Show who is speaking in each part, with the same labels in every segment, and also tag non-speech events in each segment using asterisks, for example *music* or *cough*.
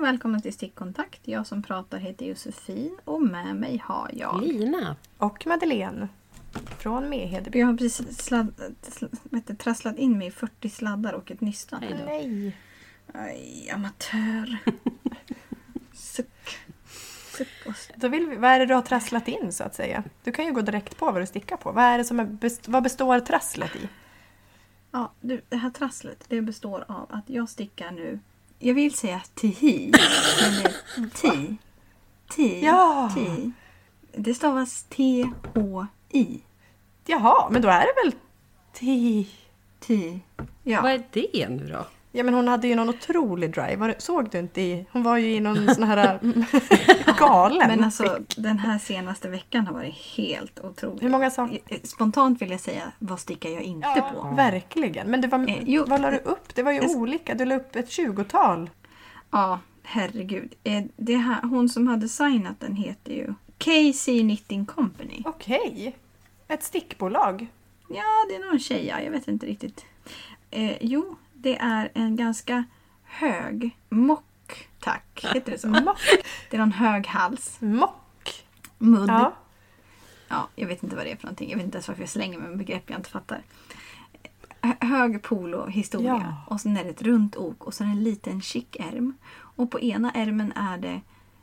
Speaker 1: välkommen till Stickkontakt. Jag som pratar heter Josefin och med mig har jag...
Speaker 2: Lina.
Speaker 3: Och Madeleine. Från Mehedeby.
Speaker 1: Jag har precis sladd, sl- vad heter det, trasslat in mig i 40 sladdar och ett nystan.
Speaker 2: Nej då.
Speaker 3: Nej.
Speaker 1: Aj, amatör. Suck. Suck och suck.
Speaker 3: Då vill vi, vad är det du har trasslat in så att säga? Du kan ju gå direkt på vad du stickar på. Vad, är det som är best, vad består trasslet i?
Speaker 1: Ja, du, det här trasslet det består av att jag stickar nu... Jag vill säga tihi, men det är ti. Ti.
Speaker 3: Ja.
Speaker 1: ti. Det stavas T-H-I.
Speaker 3: Jaha, men då är det väl ti...
Speaker 1: Ti.
Speaker 2: Vad
Speaker 1: Ja.
Speaker 2: är det nu då?
Speaker 3: Ja men hon hade ju någon otrolig drive. Var det- Såg du inte i... Hon var ju i någon
Speaker 1: *laughs*
Speaker 3: sån här mm, galen.
Speaker 1: Men alltså den här senaste veckan har varit helt otrolig.
Speaker 3: Hur många saker?
Speaker 1: Spontant vill jag säga, vad stickar jag inte på?
Speaker 3: Verkligen. Men det var,
Speaker 1: Eh, jo,
Speaker 3: vad la du upp? Det var ju
Speaker 1: jag-
Speaker 3: olika. Du la upp ett tjugotal.
Speaker 1: Ja, herregud. Eh, Det här, hon som har designat den heter ju Casey Knitting Company.
Speaker 3: Okej. Ett stickbolag.
Speaker 1: Ja, det är någon tjej, ja. jag vet inte riktigt. Eh, jo, det är en ganska hög mock, tack. Heter det så?
Speaker 3: *laughs* Mock.
Speaker 1: Det är någon hög hals.
Speaker 3: Mock.
Speaker 1: Mudd.
Speaker 3: Ja.
Speaker 1: Ja, jag vet inte vad det är för någonting. Jag vet inte ens varför jag slänger mig med begrepp jag inte fattar. H- hög polohistoria.
Speaker 3: Ja.
Speaker 1: Och sen är det ett runt ok och sen en liten chic ärm. Och på ena ärmen är det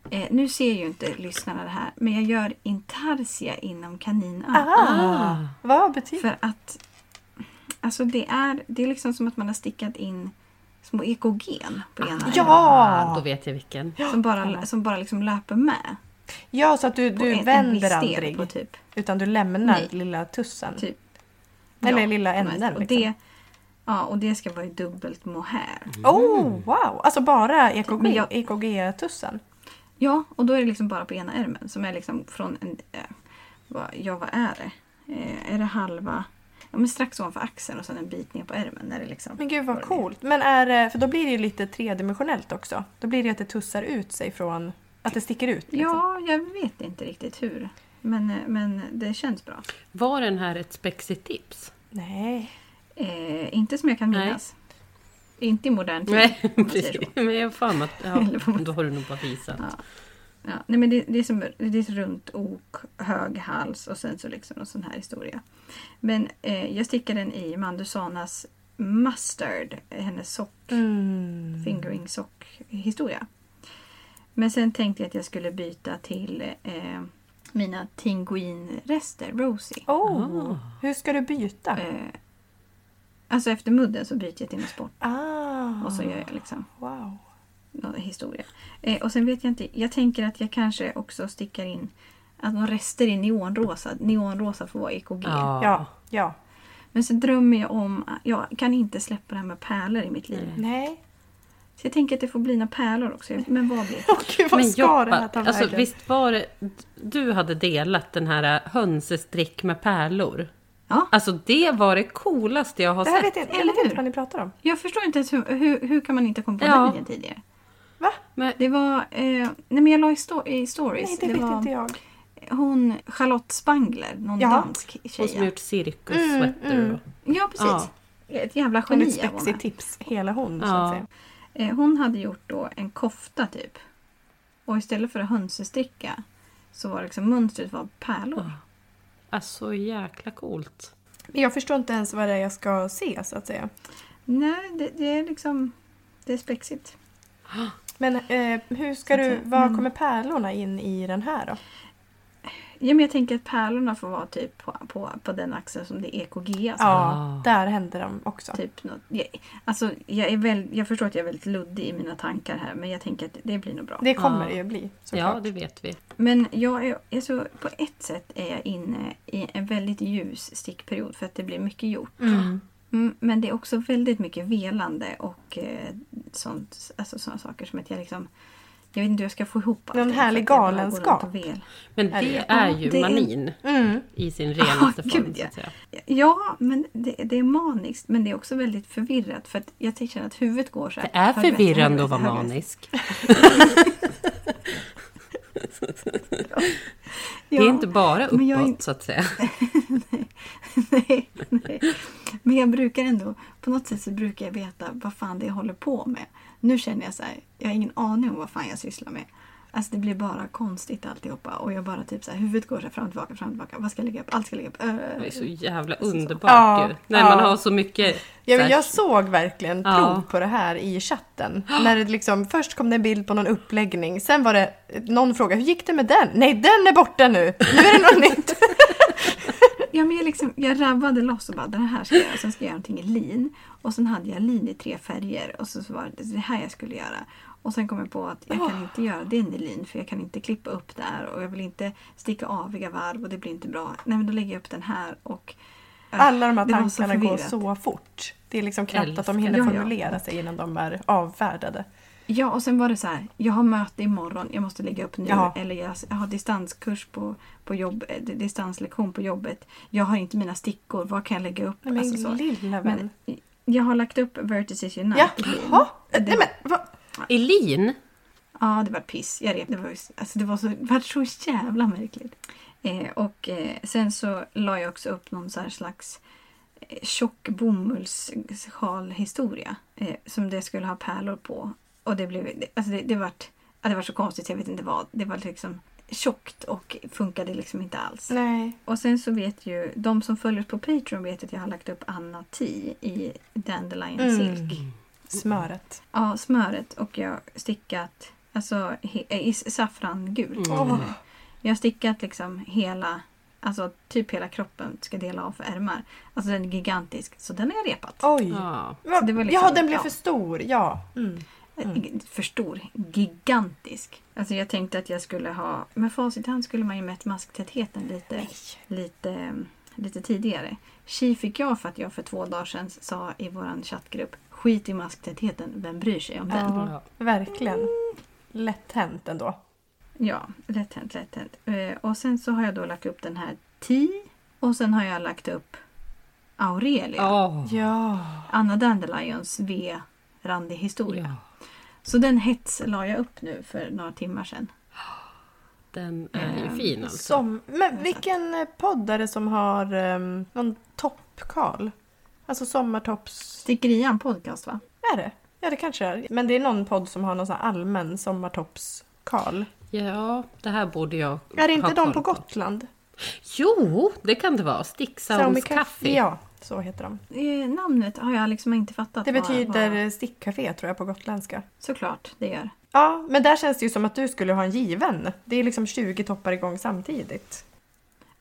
Speaker 1: eh, nu ser ju inte lyssnarna det här, men jag gör intarsia inom kaninöron.
Speaker 3: Ah. Vad betyder
Speaker 1: För att alltså det är, det är liksom som att man har stickat in små ekogen på ena
Speaker 2: Ah, då
Speaker 3: Ja!
Speaker 2: vet jag vilken.
Speaker 1: ärmen, som bara, som bara liksom löper med.
Speaker 3: Ja, så att du,
Speaker 1: på
Speaker 3: du
Speaker 1: en- en viss
Speaker 3: vänder
Speaker 1: del
Speaker 3: aldrig.
Speaker 1: På typ.
Speaker 3: Utan du lämnar
Speaker 1: Nej.
Speaker 3: lilla tussen.
Speaker 1: Typ.
Speaker 3: Eller
Speaker 1: Ja,
Speaker 3: lilla
Speaker 1: de här-
Speaker 3: änden.
Speaker 1: Och
Speaker 3: liksom.
Speaker 1: det, ja, och det ska vara i dubbelt mohair.
Speaker 3: Oh, wow! Alltså bara
Speaker 1: Men
Speaker 3: EKG,
Speaker 1: jag-
Speaker 3: EKG-tussen.
Speaker 1: Ja, och då är det liksom bara på ena ärmen som är liksom från en... Eh, vad, ja, vad är det? Eh, är det halva... Ja, men strax ovanför axeln och sen en bit ner på ärmen. Är det liksom,
Speaker 3: Men gud
Speaker 1: Var
Speaker 3: vad
Speaker 1: det.
Speaker 3: coolt. Men är det, för då blir det ju lite tredimensionellt också. Då blir det att det tussar ut sig från, att det sticker ut. liksom.
Speaker 1: Ja, jag vet inte riktigt hur. Men, eh, men det känns bra.
Speaker 2: Var den här ett spexigt
Speaker 3: *laughs*
Speaker 2: tips?
Speaker 3: Nej.
Speaker 1: Eh, inte som jag kan
Speaker 2: Nej.
Speaker 1: minnas. Inte i modern tid.
Speaker 2: Nej,
Speaker 1: om man säger så.
Speaker 2: precis. Men jag har för mig
Speaker 3: *laughs*
Speaker 2: att...
Speaker 1: Eller vad
Speaker 2: Ja,
Speaker 1: man-
Speaker 2: då har du nog bara visat.
Speaker 1: Ja. Ja, nej men det, det, är som, det är ett runt ok, hög hals och sen så liksom någon sån här historia. Men eh, jag stickar den i Mandusanas mustard, hennes sock,
Speaker 3: Mm.
Speaker 1: fingering sock historia. Men sen tänkte jag att jag skulle byta till eh, mina tinguinrester, Rosie.
Speaker 3: Oh,
Speaker 2: Ah.
Speaker 3: Hur ska du byta?
Speaker 1: Eh, alltså efter mudden så byter jag till något sport
Speaker 3: Ah.
Speaker 1: och så gör jag liksom
Speaker 3: Wow.
Speaker 1: någon historia. Eh, och sen vet jag inte, jag tänker att jag kanske också stickar in att några rester i neonrosa. Neonrosa får vara EKG.
Speaker 3: Ja, ja.
Speaker 1: Men sen drömmer jag om, jag kan inte släppa det här med pärlor i mitt liv.
Speaker 3: Nej.
Speaker 1: Så jag tänker att det får bli några pärlor också. Jag- Men vad blir det?
Speaker 3: *laughs* Åh gud, vad
Speaker 2: Men
Speaker 3: ska
Speaker 2: Joppa,
Speaker 3: det här ta
Speaker 2: alltså,
Speaker 3: vägen?
Speaker 2: visst var det... Du hade delat den här hönsestrick med pärlor.
Speaker 1: Ja,
Speaker 2: Alltså det var det coolaste jag har
Speaker 3: det här
Speaker 2: sett.
Speaker 3: vet jag, jag
Speaker 1: eller
Speaker 3: vet inte
Speaker 1: hur?
Speaker 3: vad ni pratar om.
Speaker 1: jag förstår inte ens hur, hur, hur kan man inte komma på
Speaker 2: Ja.
Speaker 1: den linjen tidigare?
Speaker 3: Va?
Speaker 2: Men,
Speaker 1: Det var, eh, nej men jag la i, sto- i stories.
Speaker 3: Nej, det, vet
Speaker 1: var
Speaker 3: inte jag.
Speaker 1: hon Charlotte Spangler, någon
Speaker 3: Ja.
Speaker 1: dansk
Speaker 2: hon som har
Speaker 1: tjej.
Speaker 2: gjort cirkussweater.
Speaker 3: Mm, mm.
Speaker 2: och-
Speaker 1: Ja, precis. Ett jävla
Speaker 3: Hon är
Speaker 1: geni
Speaker 3: ett
Speaker 1: av honom.
Speaker 3: spexigt tips, hela hon. Så
Speaker 2: Ja.
Speaker 3: att säga.
Speaker 1: Eh, Hon hade gjort då en kofta typ. Och istället för att hönsesticka så var liksom mönstret var pärlor.
Speaker 2: Alltså jäkla coolt.
Speaker 3: Men jag förstår inte ens vad det är jag ska se så att säga.
Speaker 1: Nej, det, det är liksom... Det är spexigt.
Speaker 3: Men eh, hur ska
Speaker 1: Så att
Speaker 3: du,
Speaker 1: säga.
Speaker 3: var
Speaker 1: Men-
Speaker 3: kommer pärlorna in i den här då?
Speaker 1: Ja, men jag tänker att pärlorna får vara typ på, på, på den axeln som det är EKG. Alltså,
Speaker 3: Ja,
Speaker 2: Ah.
Speaker 3: där händer de också.
Speaker 1: typ något, jag, alltså, jag, är väl, jag förstår att jag är väldigt luddig i mina tankar här men jag tänker att det blir nog bra.
Speaker 3: Det kommer
Speaker 2: Ja.
Speaker 3: det ju bli
Speaker 2: ja,
Speaker 3: såklart.
Speaker 2: det vet vi.
Speaker 1: Men jag är, alltså, på ett sätt är jag inne i en väldigt ljus stickperiod för att det blir mycket gjort.
Speaker 3: Mm.
Speaker 1: Mm, men det är också väldigt mycket velande och eh, sånt, alltså sådana saker som att jag liksom Jag vet inte hur jag ska få ihop
Speaker 3: Någon
Speaker 1: allting, för
Speaker 3: härlig
Speaker 1: att jag bara går
Speaker 3: galenskap.
Speaker 1: runt och vel.
Speaker 2: Men
Speaker 3: Är
Speaker 2: det
Speaker 3: det ju.
Speaker 2: är
Speaker 1: Ja,
Speaker 2: ju
Speaker 1: det är-
Speaker 2: manin
Speaker 3: Mm.
Speaker 2: i sin renaste
Speaker 1: Ah,
Speaker 2: form.
Speaker 1: gud,
Speaker 2: så
Speaker 1: ja.
Speaker 2: att säga.
Speaker 1: Ja, men det, det är maniskt men det är också väldigt förvirrat för att jag känner att huvudet går så här.
Speaker 2: Det är
Speaker 1: höger,
Speaker 2: förvirrande
Speaker 1: höger,
Speaker 2: att vara
Speaker 1: höger.
Speaker 2: manisk.
Speaker 1: Ja,
Speaker 2: Det
Speaker 1: *laughs*
Speaker 2: är inte bara
Speaker 1: men jag är
Speaker 2: uppåt så att säga.
Speaker 1: nej, nej. Men jag brukar ändå på något sätt så brukar jag veta vad fan det är jag håller på med. Nu känner jag så här, jag har ingen aning om vad fan jag sysslar med. Alltså det blir bara konstigt alltihopa och jag bara typ så här, huvudet går så här fram och tillbaka, fram och tillbaka. Vad ska jag lägga upp? Allt ska jag lägga upp.
Speaker 2: Det är
Speaker 1: Äh,
Speaker 2: så jävla underbart
Speaker 3: Ja,
Speaker 2: ju. Nej,
Speaker 3: ja.
Speaker 2: man har så mycket...
Speaker 3: Ja, men
Speaker 2: så här-
Speaker 3: jag såg verkligen prov
Speaker 2: Ja.
Speaker 3: på det här i chatten. När det liksom, först kom det en bild på någon uppläggning, sen var det någon fråga, hur gick det med den? Nej, den är borta nu! Nu är det något nytt!
Speaker 1: Ja, men jag, liksom, jag rabbade loss och bara det här ska jag göra. Sen ska jag göra någonting i lin. Och sen hade jag lin i tre färger och så, så var det det här jag skulle göra. Och sen kom jag på att jag kan inte göra den i lin för jag kan inte klippa upp där och jag vill inte sticka aviga varv och det blir inte bra. Nej men då lägger jag upp den här och...
Speaker 3: Alla de här
Speaker 1: Ah, Det var så
Speaker 3: tankarna går
Speaker 1: förvirrat.
Speaker 3: så fort. Det är liksom knappt att de
Speaker 2: Älskar.
Speaker 3: hinner
Speaker 1: Ja, ja.
Speaker 3: formulera sig innan de är avfärdade.
Speaker 1: Ja och sen var det så här, jag har möte imorgon, jag måste lägga upp nu.
Speaker 3: Jaha.
Speaker 1: Eller jag, jag har distanskurs på, på jobb, eh, distanslektion på jobbet. Jag har inte mina stickor, vad kan jag lägga upp?
Speaker 3: Nej, men
Speaker 1: Alltså så.
Speaker 3: lilla vän.
Speaker 1: Men jag har lagt upp Vertices Unite
Speaker 3: Ja,
Speaker 1: i lin.
Speaker 3: ha? Nej men, va?
Speaker 2: Elin?
Speaker 1: Ja, det var piss. Jag rep. Det var, alltså, det var, så, det var så jävla märkligt. Eh, och eh, sen så la jag också upp någon så här slags eh, tjock bomullssjalhistoria. Eh, som det skulle ha pärlor på. Och det blev, det- alltså det, det vart, ja, det var så konstigt, jag vet inte vad. Det var liksom tjockt och funkade liksom inte alls.
Speaker 3: Nej.
Speaker 1: Och sen så vet ju de som följer oss på Patreon vet att jag har lagt upp Anna T i Dandelion
Speaker 3: Mm.
Speaker 1: Silk.
Speaker 3: Smöret.
Speaker 1: Ja, smöret och jag har stickat alltså, he- i s- saffrangult.
Speaker 2: Mm.
Speaker 3: Åh.
Speaker 1: Jag har stickat liksom hela, alltså typ hela kroppen ska dela av för ärmar. Alltså den är gigantisk, så den har jag repat.
Speaker 3: Oj!
Speaker 2: Ja.
Speaker 3: Va?
Speaker 1: Så det var
Speaker 3: ja,
Speaker 1: liksom-
Speaker 3: den blev
Speaker 1: ja.
Speaker 3: för stor. Ja.
Speaker 1: Mm. För stor, gigantisk. Alltså jag tänkte att jag skulle ha, med facit i hand skulle man ju mätt masktätheten lite, lite, lite tidigare. Tji fick jag för att jag för två dagar sedan sa i vår chattgrupp, skit i masktätheten, vem bryr sig om den?
Speaker 3: Ja, verkligen. Lätt hänt ändå.
Speaker 1: Ja, lätt hänt, lätt hänt. Eh, Och sen så har jag då lagt upp den här Ti och sen har jag lagt upp Aurelia,
Speaker 2: Åh.
Speaker 3: Ja.
Speaker 1: Anna Dandelions V randig historia.
Speaker 2: ja.
Speaker 1: Så den hets la jag upp nu för några timmar sedan.
Speaker 2: Den är
Speaker 1: Ehm,
Speaker 2: ju fin alltså.
Speaker 3: Som, men vilken eh, podd är det som har um, någon toppkarl? Alltså sommartopps...
Speaker 1: Stickerian podcast va?
Speaker 3: Är det? Ja, det kanske är. Men det är någon podd som har någon sån här allmän sommartoppskarl.
Speaker 2: Ja, det här borde jag
Speaker 3: Är det inte
Speaker 2: ha
Speaker 3: de
Speaker 2: koll
Speaker 3: på Gotland?
Speaker 2: Jo, det kan det vara. Stick
Speaker 3: Saomi
Speaker 2: Sounds
Speaker 3: Caf-
Speaker 2: Café.
Speaker 3: Ja, så heter de.
Speaker 1: Eh, namnet har jag liksom inte fattat.
Speaker 3: Det
Speaker 1: vad- vad-
Speaker 3: betyder stickcafé tror jag på gotländska.
Speaker 1: Såklart, det gör.
Speaker 3: Ja, men där känns det ju som att du skulle ha en given. Det är liksom 20 toppar igång samtidigt.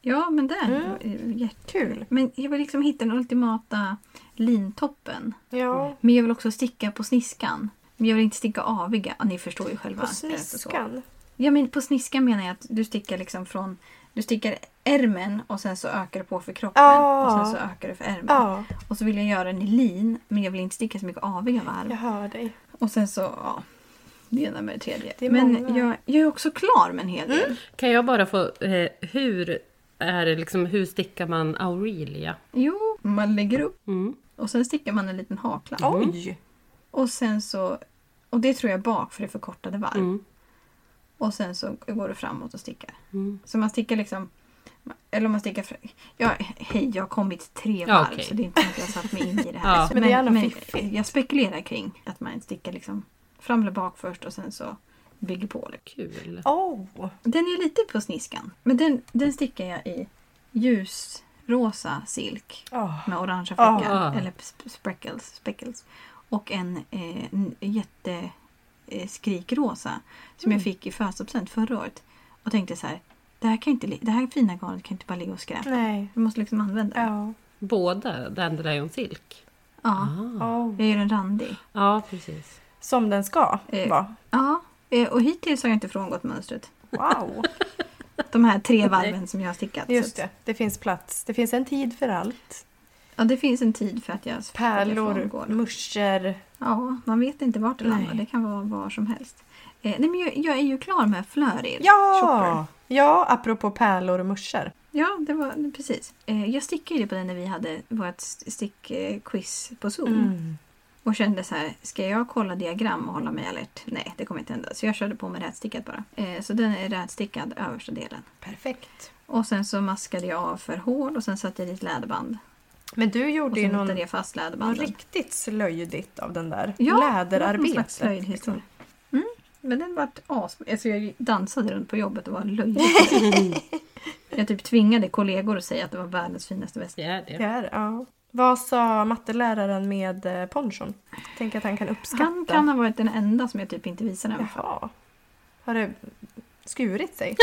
Speaker 1: Ja, men där.
Speaker 3: Mm.
Speaker 1: eh, jätte-
Speaker 3: Kul!
Speaker 1: Men jag vill liksom hitta den ultimata lintoppen.
Speaker 3: Ja,
Speaker 1: Men jag vill också sticka på sniskan. Men jag vill inte sticka aviga. Ah, Ni förstår ju själva.
Speaker 3: på
Speaker 1: att det är så.
Speaker 3: sniskan.
Speaker 1: Ja men på sniska menar jag att du stickar liksom från du stickar ärmen och sen så ökar du på för kroppen
Speaker 3: Ja.
Speaker 1: och sen så ökar du för ärmen.
Speaker 3: Ja,
Speaker 1: Och så vill jag göra den i lin men jag vill inte sticka så mycket aviga varv.
Speaker 3: jag hör dig.
Speaker 1: Och sen så, ja. Det ena med det tredje.
Speaker 3: Det är
Speaker 1: men
Speaker 3: många. Mm.
Speaker 1: jag, jag är också klar med en hel del.
Speaker 2: Kan jag bara få, eh, hur är det liksom, hur stickar man Aurelia?
Speaker 1: Jo, man lägger upp
Speaker 2: Mm.
Speaker 1: och sen stickar man en liten haklapp.
Speaker 3: Oj!
Speaker 1: Och sen så, och det tror jag bak för det är förkortade varv.
Speaker 2: Mm.
Speaker 1: Och sen så går du framåt och stickar.
Speaker 2: Mm.
Speaker 1: Så man stickar liksom eller om man stickar... fr- Ja, hej, jag har kommit tre
Speaker 2: Ja,
Speaker 1: varv
Speaker 2: okej.
Speaker 1: så det är inte så att jag har satt mig in
Speaker 2: *laughs*
Speaker 1: i det här. liksom.
Speaker 2: Ja.
Speaker 3: Men det är ändå fiffigt.
Speaker 1: jag spekulerar kring att man stickar liksom fram eller bak först och sen så bygger på. det.
Speaker 2: Kul.
Speaker 3: Oh!
Speaker 1: Den är lite på sniskan, men den, den stickar jag i ljusrosa silk
Speaker 3: oh.
Speaker 1: med orangea fläckar,
Speaker 2: Ah.
Speaker 1: eller sp- speckles, speckles. Och en eh, n- jätte eh, skrikrosa som
Speaker 3: Mm.
Speaker 1: jag fick i födelsedagspresent förra året. Och tänkte så här, det här, kan inte, li- det här fina garnet kan inte bara ligga och skräpa.
Speaker 3: Nej.
Speaker 1: Du måste liksom använda den.
Speaker 3: Ja.
Speaker 2: Båda Dandelion Silk?
Speaker 1: Ja.
Speaker 2: Ah.
Speaker 3: Oh.
Speaker 1: Jag gör den randig.
Speaker 2: Ja, precis.
Speaker 3: Som den ska
Speaker 1: Eh.
Speaker 3: vara.
Speaker 1: Ja. eh, Och hittills har jag inte frångått mönstret.
Speaker 3: *laughs* Wow!
Speaker 1: De här
Speaker 3: *laughs*
Speaker 1: tre varven som jag har stickat. Så
Speaker 3: Just
Speaker 1: att-
Speaker 3: det, det finns plats. Det finns en tid för allt.
Speaker 1: Ja, det finns en tid för att jag för att jag
Speaker 3: Pärlor,
Speaker 1: frångår.
Speaker 3: muscher.
Speaker 1: Ja, man vet inte vart det landar.
Speaker 3: Nej.
Speaker 1: Det kan vara var som helst. Eh, nej, men jag, jag är ju klar med Flörir. Shopper.
Speaker 3: Ja! Ja, apropå pärlor och muscher.
Speaker 1: Ja, det var precis. Eh, jag stickade ju på den när vi hade vårt stickquiz på Zoom.
Speaker 3: Mm.
Speaker 1: Och kände så här, ska jag kolla diagram och hålla mig alert? Nej, det kommer inte hända. Så jag körde på med rätstickad bara. Eh, så den är rätstickad översta delen.
Speaker 3: Perfekt.
Speaker 1: Och sen så maskade jag av för hål och sen satte jag dit läderband.
Speaker 3: Men du gjorde
Speaker 1: Och
Speaker 3: ju
Speaker 1: sen
Speaker 3: någon,
Speaker 1: hittade jag fast
Speaker 3: någon
Speaker 1: läderbandet.
Speaker 3: riktigt slöjdigt av den där.
Speaker 1: Ja, någon slags
Speaker 3: Läderarbetet.
Speaker 1: slöjdhistoria.
Speaker 3: liksom.
Speaker 1: Mm. Men den vart as... Alltså jag dansade runt på jobbet och var löjligt
Speaker 3: *laughs*
Speaker 1: Jag typ tvingade kollegor att säga att det var världens finaste väst.
Speaker 2: Det är det.
Speaker 3: Det är, ja. Vad sa matteläraren med eh, ponchon? Tänk att han kan uppskatta.
Speaker 1: Han kan ha varit den enda som jag typ inte visade
Speaker 3: *laughs*
Speaker 1: den för.
Speaker 3: Jaha. Har det
Speaker 1: *laughs*
Speaker 3: skurit sig?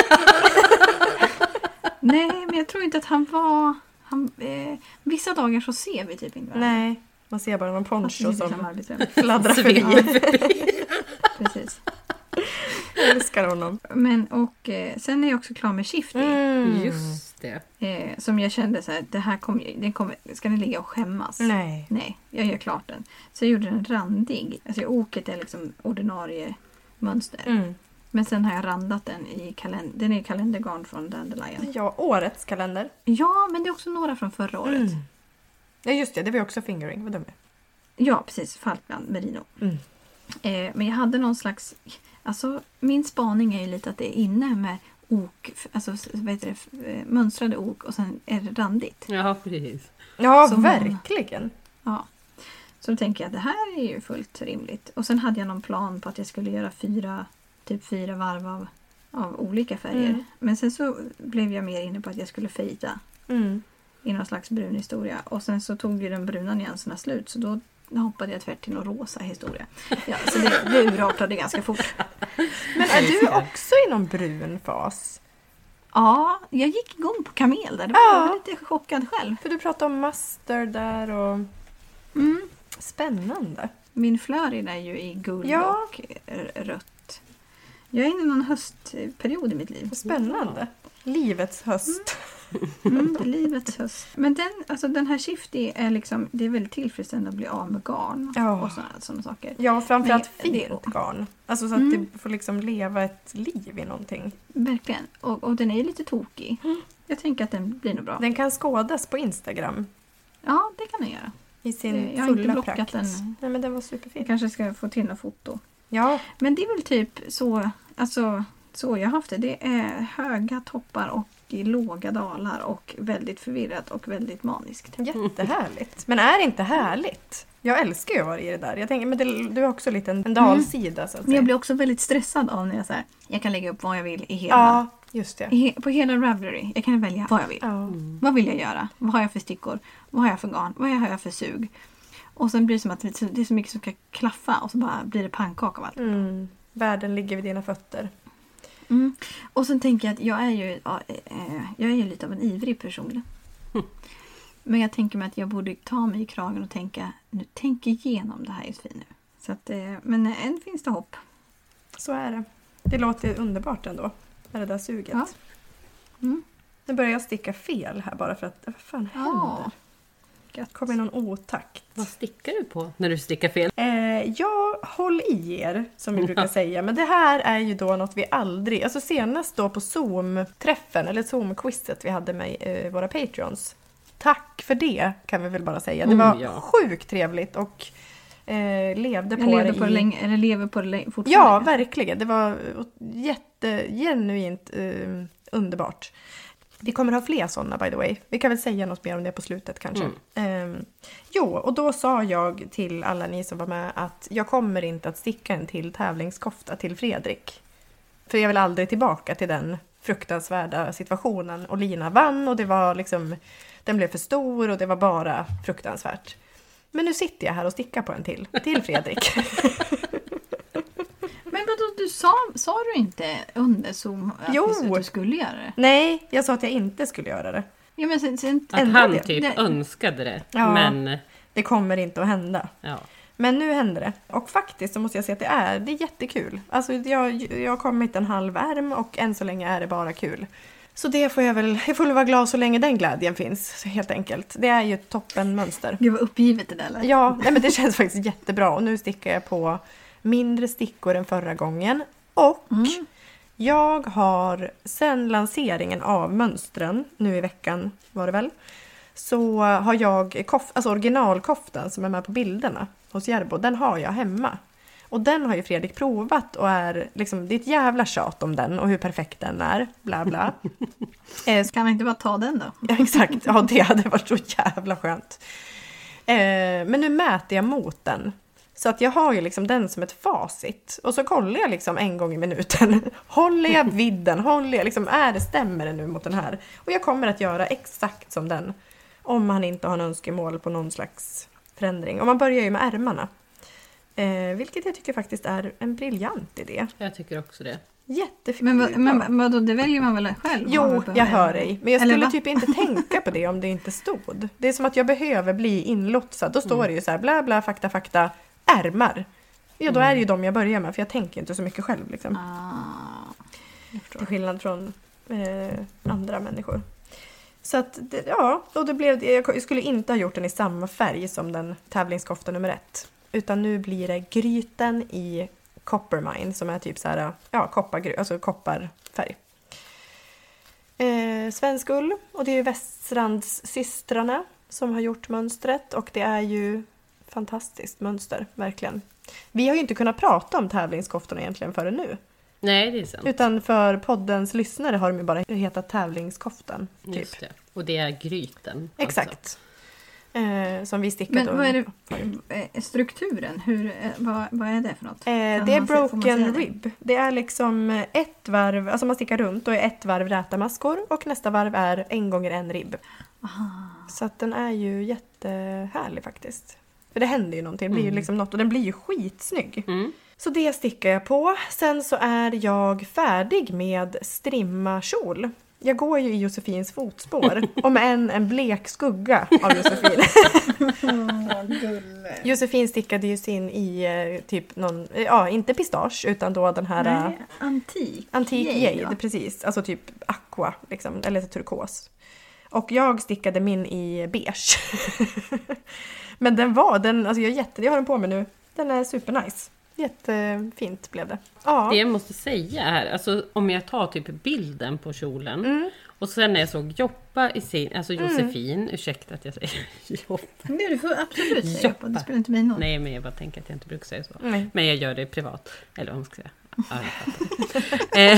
Speaker 1: Nej, men jag tror inte att han var... Han, eh, vissa dagar så ser vi typ inte varandra.
Speaker 3: Nej. Man ser bara någon
Speaker 1: Alltså,
Speaker 3: poncho
Speaker 1: det är liksom
Speaker 3: som *laughs*
Speaker 1: arbetsrum.
Speaker 3: fladdrar
Speaker 2: Svimmar.
Speaker 3: förbi.
Speaker 1: *laughs* Precis.
Speaker 3: Jag älskar
Speaker 1: *laughs*
Speaker 3: honom.
Speaker 1: Men och eh, sen är jag också klar med Shifty.
Speaker 3: Mm.
Speaker 2: Just det.
Speaker 1: Eh, som jag kände så här, det här kommer, ju- den kommer, ska ni ligga och skämmas?
Speaker 3: Mm. Nej.
Speaker 1: Nej, jag gör klart den. Så jag gjorde den randig. Alltså jag- oket är liksom ordinarie mönster.
Speaker 3: Mm.
Speaker 1: Men sen har jag randat den i kalender, den är i kalendergarn från Dandelion.
Speaker 3: Ja, Mm. årets kalender.
Speaker 1: Ja, men det är också några från förra året.
Speaker 3: Ja just det, det var ju också fingering. Vad dum jag är.
Speaker 1: Ja, precis. Falkland Merino.
Speaker 3: Mm.
Speaker 1: Eh, men jag hade någon slags... Alltså, min spaning är ju lite att det är inne med ok, alltså s- vad heter det, f- eh, mönstrade ok och sen är det randigt.
Speaker 2: Ja, precis.
Speaker 3: Ja,
Speaker 1: Som-
Speaker 3: verkligen.
Speaker 1: Ja. Så då tänker jag att det här är ju fullt rimligt. Och sen hade jag någon plan på att jag skulle göra fyra, typ fyra varv av, av olika färger.
Speaker 3: Mm.
Speaker 1: Men sen så blev jag mer inne på att jag skulle fejda
Speaker 3: Mm.
Speaker 1: i någon slags brun historia. Och sen så tog ju den bruna nyanserna slut så då hoppade jag tvärt till någon rosa historia. Ja, så det, det urartade ganska fort.
Speaker 3: Men är du också i någon brun fas?
Speaker 1: Ja, jag gick igång på kamel där. Det var
Speaker 3: Ja.
Speaker 1: jag lite chockad själv.
Speaker 3: För du pratade om master där och
Speaker 1: Mm.
Speaker 3: spännande.
Speaker 1: Min Flörin är ju i guld
Speaker 3: Ja.
Speaker 1: och r- rött. Jag är inne i någon höstperiod i mitt liv.
Speaker 3: Och spännande. Livets höst.
Speaker 1: *laughs* Mm, livets höst. Men den, alltså den här Shifty är liksom, det är väldigt tillfredsställande att bli av med garn
Speaker 3: Ja.
Speaker 1: Mm. och sådana, sådana saker.
Speaker 3: Ja, framförallt
Speaker 1: Men det-
Speaker 3: fint garn. Alltså så att
Speaker 1: Mm.
Speaker 3: det får liksom leva ett liv i någonting.
Speaker 1: Verkligen. Och, och den är ju lite tokig. Jag tänker att den blir nog bra.
Speaker 3: Den kan skådas på Instagram
Speaker 1: Ja, det kan den göra.
Speaker 3: i sin
Speaker 1: Jag har inte
Speaker 3: fulla
Speaker 1: blockat
Speaker 3: prakt.
Speaker 1: den.
Speaker 3: Nej men den var
Speaker 1: Jag
Speaker 3: superfin.
Speaker 1: kanske ska få till något foto.
Speaker 3: Ja,
Speaker 1: Men det är väl typ så, alltså, så jag har haft det. Det är höga toppar och låga dalar och väldigt förvirrat och väldigt maniskt.
Speaker 3: jättehärligt. Men är inte härligt? Jag älskar ju att vara i det där. Jag tänker, men det, du har också lite en, en dalsida så
Speaker 1: Mm.
Speaker 3: att
Speaker 1: Men jag
Speaker 3: säga.
Speaker 1: blir också väldigt stressad av när jag så här, jag kan lägga upp vad jag vill i hela,
Speaker 3: Ja, just det.
Speaker 1: i he, på hela Ravelry. Jag kan välja vad jag vill.
Speaker 3: Ja.
Speaker 2: Mm.
Speaker 1: Vad vill jag göra? Vad har jag för stickor? Vad har jag för garn? Vad har jag för sug? Och sen blir det som att det är så mycket som ska klaffa och så bara blir det pannkaka av allt.
Speaker 3: Mm. Världen ligger vid dina fötter.
Speaker 1: Mm. Och sen tänker jag att jag är ju, ja, eh, jag är ju lite av en ivrig person.
Speaker 3: Hm.
Speaker 1: Men jag tänker mig att jag borde ta mig i kragen och tänka, nu tänk igenom det här Josefin nu. Så att, eh, men än finns det hopp.
Speaker 3: Så är det. Det låter underbart ändå. Med det där suget.
Speaker 1: Ja. Mm.
Speaker 3: Nu börjar jag sticka fel här bara för att vad fan händer?
Speaker 1: Gött.
Speaker 3: Kommer någon otakt?
Speaker 2: Vad stickar du på när du stickar fel?
Speaker 3: Eh, ja, håll i er, som vi *laughs* brukar säga. Men det här är ju då något vi aldrig... Alltså senast då på Zoom-träffen, eller Zoom-quizet vi hade med eh, våra Patreons. Tack för det, kan vi väl bara säga. Det
Speaker 2: Oh,
Speaker 3: var
Speaker 2: ja.
Speaker 3: sjukt trevligt och eh, levde
Speaker 1: Jag
Speaker 3: på
Speaker 1: lever
Speaker 3: det
Speaker 1: på det
Speaker 3: i...
Speaker 1: länge, eller lever på det länge, fortfarande.
Speaker 3: Ja, verkligen. Det var eh, jätte, genuint eh, underbart. Vi kommer ha fler sådana by the way. Vi kan väl säga något mer om det på slutet kanske. Ehm, jo, och då sa jag till alla ni som var med att jag kommer inte att sticka en till tävlingskofta till Fredrik. För jag vill aldrig tillbaka till den fruktansvärda situationen. Och Lina vann och det var liksom, den blev för stor och det var bara fruktansvärt. Men nu sitter jag här och stickar på en till, till Fredrik.
Speaker 1: Men vadå, du sa, sa du inte under Zoom att
Speaker 3: Jo.
Speaker 1: du- du skulle göra det?
Speaker 3: Nej, jag sa att jag inte skulle göra det.
Speaker 1: Ja, men sen, sen,
Speaker 2: Att
Speaker 3: Ändå
Speaker 2: han
Speaker 3: det.
Speaker 2: typ
Speaker 1: Det-
Speaker 2: önskade det.
Speaker 3: Ja.
Speaker 2: Men
Speaker 3: Det kommer inte att hända.
Speaker 2: ja.
Speaker 3: Men nu händer det. Och faktiskt så måste jag säga att det är, det är jättekul. Alltså jag, jag har kommit en halv ärm och än så länge är det bara kul. Så det får jag väl, jag får väl vara glad så länge den glädjen finns, helt enkelt. Det är ju ett toppenmönster.
Speaker 1: Gud vad uppgivet det där lät.
Speaker 3: Ja, nej men det känns faktiskt jättebra. Och nu stickar jag på mindre stickor än förra gången. Och jag har sen lanseringen av mönstren, nu i veckan var det väl, så har jag kof- alltså originalkoftan som är med på bilderna hos Järbo, den har jag hemma. Och den har ju Fredrik provat och är liksom, det är ett jävla tjat om den och hur perfekt den är. Bla bla. eh,
Speaker 1: Kan man inte bara ta den då?
Speaker 3: Ja, exakt. Ja, det hade varit så jävla skönt. Eh, men nu mäter jag mot den. Så att jag har ju liksom den som ett facit. Och så kollar jag liksom en gång i minuten. *laughs* Håller jag vidden? Håller jag liksom, är det, stämmer det nu mot den här? Och jag kommer att göra exakt som den. Om han inte har en önskemål på någon slags förändring. Och man börjar ju med ärmarna. Eh, vilket jag tycker faktiskt är en briljant idé.
Speaker 2: Jag tycker också det.
Speaker 3: Jättefint.
Speaker 1: Men, vad- men vadå, det väljer man väl själv? vad man
Speaker 3: Jo,
Speaker 1: behöver.
Speaker 3: jag hör dig. Men jag
Speaker 1: Eller
Speaker 3: skulle
Speaker 1: va? *laughs*
Speaker 3: typ inte tänka på det om det inte stod. Det är som att jag behöver bli inlotsad. Då står
Speaker 1: Mm.
Speaker 3: det ju så här bla bla fakta fakta ärmar. Ja,
Speaker 1: Mm.
Speaker 3: då är det ju de jag börjar med för jag tänker inte så mycket själv. Liksom.
Speaker 1: Ah, jag förstår.
Speaker 3: Till skillnad från eh, andra människor. Så att, det, ja, och det blev, jag skulle inte ha gjort den i samma färg som den tävlingskofta nummer ett. Utan nu blir det gryten i coppermine som är typ så här, ja, koppargry, alltså kopparfärg. Eh, svensk ull och det är ju Västrands systrarna som har gjort mönstret och det är ju fantastiskt mönster, verkligen. Vi har ju inte kunnat prata om tävlingskoftorna egentligen förrän nu.
Speaker 2: Nej, det är sant.
Speaker 3: Utan för poddens lyssnare har de ju bara hetat tävlingskoftan. Typ.
Speaker 2: Just det. Och det är gryten. Alltså.
Speaker 3: Exakt. Eh, som vi stickat
Speaker 1: Men
Speaker 3: och-
Speaker 1: vad är det, eh, strukturen, hur, eh, vad, vad är det för något?
Speaker 3: Eh,
Speaker 1: Kan
Speaker 3: det är
Speaker 1: man se- får man säga
Speaker 3: broken
Speaker 1: det?
Speaker 3: rib. Det är liksom eh, ett varv, alltså man stickar runt och är ett varv rätamaskor och nästa varv är en gånger en ribb. Så att den är ju jättehärlig faktiskt. För det händer ju någonting, det
Speaker 1: Mm.
Speaker 3: blir ju liksom något och den blir ju skitsnygg.
Speaker 2: Mm.
Speaker 3: Så det stickar jag på. Sen så är jag färdig med strimmakjol. Jag går ju i Josefins fotspår, om än en blek skugga av Josefin. Josefin stickade ju sin i eh, typ någon, eh, ja inte pistage utan då den här eh,
Speaker 1: Nej, antik.
Speaker 3: antik
Speaker 1: Yay,
Speaker 3: jade,
Speaker 1: va?
Speaker 3: precis. Alltså typ aqua, liksom, eller turkos. Och jag stickade min i beige. *laughs* Men den var, den, alltså jag, är jätte, jag har den på mig nu. Den är supernice. Jättefint blev det. Ja,
Speaker 2: Det jag måste säga är, alltså, om jag tar typ bilden på kjolen
Speaker 3: Mm.
Speaker 2: och sen när jag såg Joppa i sin, alltså Josefin, ursäkta att jag säger *laughs* Joppa.
Speaker 1: Nej, du får absolut säga
Speaker 2: Joppa.
Speaker 1: på. Det spelar inte mig någon
Speaker 2: Nej men jag bara tänker att jag inte brukar säga så.
Speaker 3: Nej.
Speaker 2: Men jag gör det privat. Eller vad man ska
Speaker 3: *laughs*
Speaker 2: säga. Ja, jag fattar. Eh,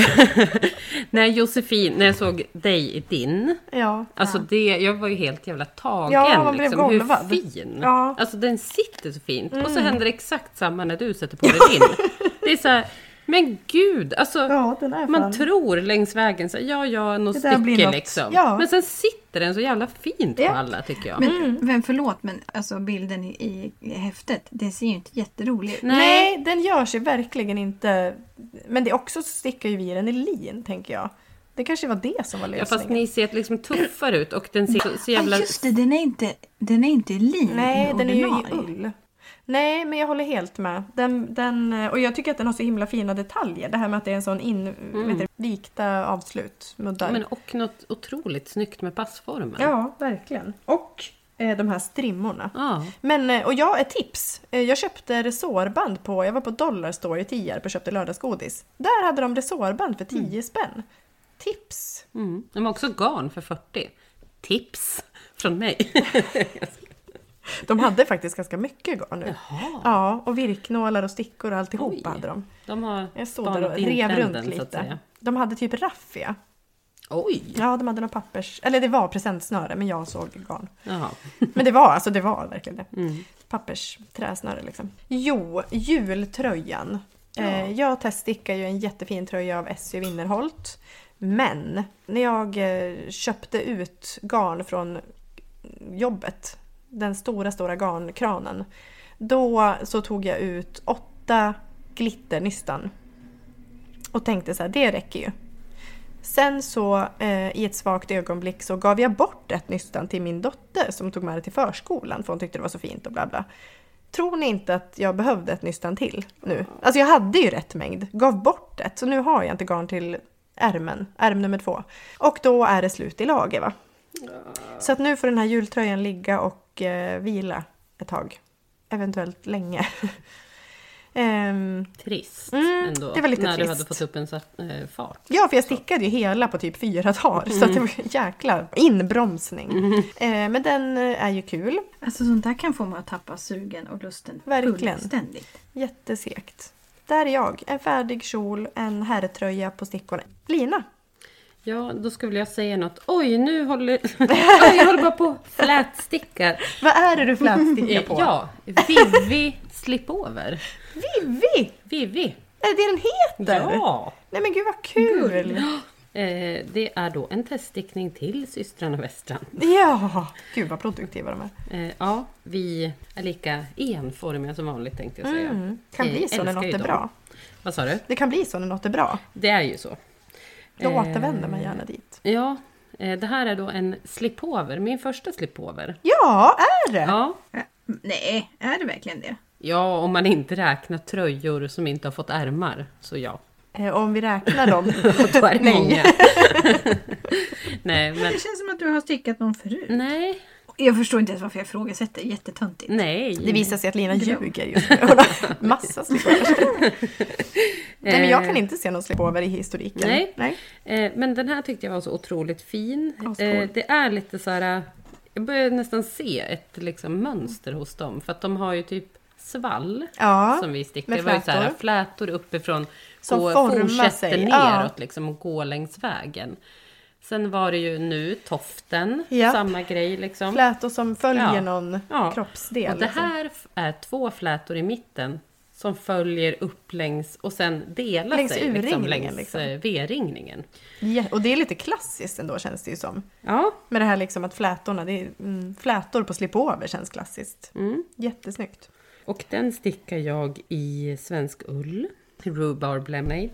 Speaker 2: *laughs* när Josefin, när jag såg dig i din,
Speaker 3: ja.
Speaker 2: alltså det, jag var ju helt jävla tagen.
Speaker 3: Ja, man blev
Speaker 2: liksom, hur
Speaker 3: golvad.
Speaker 2: fin!
Speaker 3: Ja. Mm.
Speaker 2: Alltså den sitter så fint. Och så händer det exakt samma när du sätter på dig
Speaker 3: *laughs*
Speaker 2: din. Det är så här, men gud! Alltså,
Speaker 3: ja den är
Speaker 2: man tror längs vägen så här, ja, ja, något
Speaker 3: Det där blir
Speaker 2: sticker
Speaker 3: något.
Speaker 2: liksom.
Speaker 3: Ja.
Speaker 2: Men sen sitter den så jävla fint på
Speaker 3: Ja.
Speaker 2: alla tycker jag.
Speaker 1: Men,
Speaker 3: Mm.
Speaker 1: men förlåt, men alltså bilden i, i, i häftet, det ser ju inte jätterolig ut.
Speaker 2: Nej.
Speaker 3: Nej, den gör sig verkligen inte. Men det är också så stickar ju vi den i lin, tänker jag. Det kanske var det som var
Speaker 2: Ja, fast
Speaker 3: lösningen.
Speaker 2: ni ser liksom tuffare ut och den ser så, så jävla...
Speaker 1: Ja, just det, den är inte, den är inte i lin.
Speaker 3: Nej,
Speaker 1: i
Speaker 3: den är ju i
Speaker 1: ordinarie.
Speaker 3: ull. Nej, men jag håller helt med. Den, den, och jag tycker att den har så himla fina detaljer. Det här med att det är en sån in, vet du, vikta avslut, muddar.
Speaker 2: Mm. Men och något otroligt snyggt med passformen.
Speaker 3: Ja, verkligen. Och eh, de här strimmorna.
Speaker 2: Ja.
Speaker 3: Men, eh, och jag, ett tips. Eh, Jag köpte resårband på, jag var på Dollarstore i Tierp och köpte lördagsgodis. Där hade de resårband för 10 spänn. Tips!
Speaker 2: Mm. De har också garn för 40. Tips från
Speaker 3: *laughs*
Speaker 2: mig.
Speaker 3: De hade faktiskt ganska mycket garn nu.
Speaker 2: Jaha.
Speaker 3: Ja, och virknålar och stickor och alltihopa
Speaker 2: Oj.
Speaker 3: hade de.
Speaker 2: De har
Speaker 3: Jag stod där och
Speaker 2: banat in
Speaker 3: rev
Speaker 2: trenden,
Speaker 3: runt
Speaker 2: så att
Speaker 3: lite.
Speaker 2: säga.
Speaker 3: De hade typ raffia.
Speaker 2: Oj!
Speaker 3: Ja, de hade några pappers... Eller det var presentsnöre, men jag såg garn.
Speaker 2: Jaha.
Speaker 3: *laughs* Men det var alltså, det var verkligen det. Pappers, träsnöre liksom. Jo, jultröjan. Eh, jag teststickar ju en jättefin tröja av SC Winnerholt. Men när jag eh, köpte ut garn från jobbet, den stora, stora garnkranen, då så tog jag ut åtta glitternystan. Och tänkte så här, det räcker ju. Sen så eh, i ett svagt ögonblick så gav jag bort ett nystan till min dotter som tog med det till förskolan för hon tyckte det var så fint och bla bla. Tror ni inte att jag behövde ett nystan till nu? Alltså jag hade ju rätt mängd, gav bort ett, så nu har jag inte garn till ärmen, ärm nummer två. Och då är det slut i lager va? Så att nu får den här jultröjan ligga och eh, vila ett tag. Eventuellt länge. *laughs* Ehm,
Speaker 2: Trist
Speaker 3: Mm,
Speaker 2: ändå.
Speaker 3: det var lite
Speaker 2: när du
Speaker 3: trist.
Speaker 2: hade fått upp en svart, eh, fart.
Speaker 3: Ja, för jag stickade ju hela på typ fyra dagar. Så
Speaker 2: Mm.
Speaker 3: att det var ju en jäkla inbromsning. Eh, men den eh, är ju kul.
Speaker 1: Alltså sånt där kan få mig att tappa sugen och lusten
Speaker 3: Verkligen.
Speaker 1: fullständigt.
Speaker 3: Jättesekt. Där är jag. En färdig kjol, en herrtröja på stickorna. Lina.
Speaker 2: Ja, då skulle jag säga något. Oj, nu håller...
Speaker 3: *laughs*
Speaker 2: Oj, jag håller bara på och flätstickar.
Speaker 3: Vad är det du flätstickar
Speaker 2: Eh,
Speaker 3: på?
Speaker 2: *laughs* Ja, Vivi Slipover.
Speaker 3: Vivi!
Speaker 2: Vivi.
Speaker 3: Är det det den heter?
Speaker 2: Ja!
Speaker 3: Nej men gud vad kul!
Speaker 2: Eh, det är då en teststickning till systrarna Westrand.
Speaker 3: Ja! Gud vad produktiva de är.
Speaker 2: Eh, ja, vi är lika enformiga som vanligt tänkte jag säga.
Speaker 3: Mm. Kan
Speaker 2: Eh,
Speaker 3: bli så när
Speaker 2: älskar
Speaker 3: något
Speaker 2: ju
Speaker 3: är
Speaker 2: dem.
Speaker 3: bra.
Speaker 2: Vad sa du?
Speaker 3: Det kan bli så när något är bra.
Speaker 2: Det är ju så.
Speaker 3: Då
Speaker 2: Eh,
Speaker 3: återvänder man gärna dit.
Speaker 2: Ja, eh, det här är då en slipover, min första slipover.
Speaker 3: Ja, är det!
Speaker 2: Ja.
Speaker 1: Ja, m- Nej, är det verkligen det?
Speaker 2: ja, om man inte räknar tröjor som inte har fått ärmar, så ja. *laughs*
Speaker 3: Eh, om vi räknar dem.
Speaker 2: Och då är det
Speaker 3: Nej. *laughs*
Speaker 2: många. nej, men
Speaker 1: Det känns som att du har stickat någon förut.
Speaker 2: nej,
Speaker 1: Jag förstår inte ens varför jag ifrågasätter. Jättetöntigt.
Speaker 2: nej.
Speaker 3: Det visar sig att Lina
Speaker 1: Dröm.
Speaker 3: ljuger just nu.
Speaker 2: *laughs*
Speaker 3: Hon har massa slipover. Nej men jag kan inte se någon slipover i
Speaker 2: Eh.
Speaker 3: historiken.
Speaker 2: Nej.
Speaker 3: Nej.
Speaker 2: Eh, men den här tyckte jag var så otroligt fin.
Speaker 3: Ascool.
Speaker 2: Eh, det är lite så här... Jag börjar nästan se ett liksom, mönster hos dem. För att de har ju typ svall
Speaker 3: Ja,
Speaker 2: som vi stickar.
Speaker 3: med
Speaker 2: Det var ju så här,
Speaker 3: flätor.
Speaker 2: flätor uppifrån.
Speaker 3: Som
Speaker 2: och
Speaker 3: formar
Speaker 2: fortsätter
Speaker 3: sig.
Speaker 2: neråt
Speaker 3: Ja.
Speaker 2: liksom, och går längs vägen. Sen var det ju nu toften.
Speaker 3: Japp.
Speaker 2: Samma grej liksom.
Speaker 3: Flätor som följer
Speaker 2: Ja.
Speaker 3: någon
Speaker 2: Ja.
Speaker 3: kroppsdel.
Speaker 2: Och det
Speaker 3: liksom.
Speaker 2: här f- är två flätor i mitten som följer upp längs och sen delar
Speaker 3: Längs
Speaker 2: sig liksom,
Speaker 3: urringningen,
Speaker 2: längs
Speaker 3: liksom.
Speaker 2: eh, V-ringningen.
Speaker 3: Ja, och det är lite klassiskt ändå känns det ju som.
Speaker 2: Ja,
Speaker 3: Med det här liksom att flätorna, det är, mm, flätor på slipover känns klassiskt.
Speaker 2: Mm.
Speaker 3: Jättesnyggt.
Speaker 2: Och den stickar jag i svensk ull. Rhubarb Lemonade.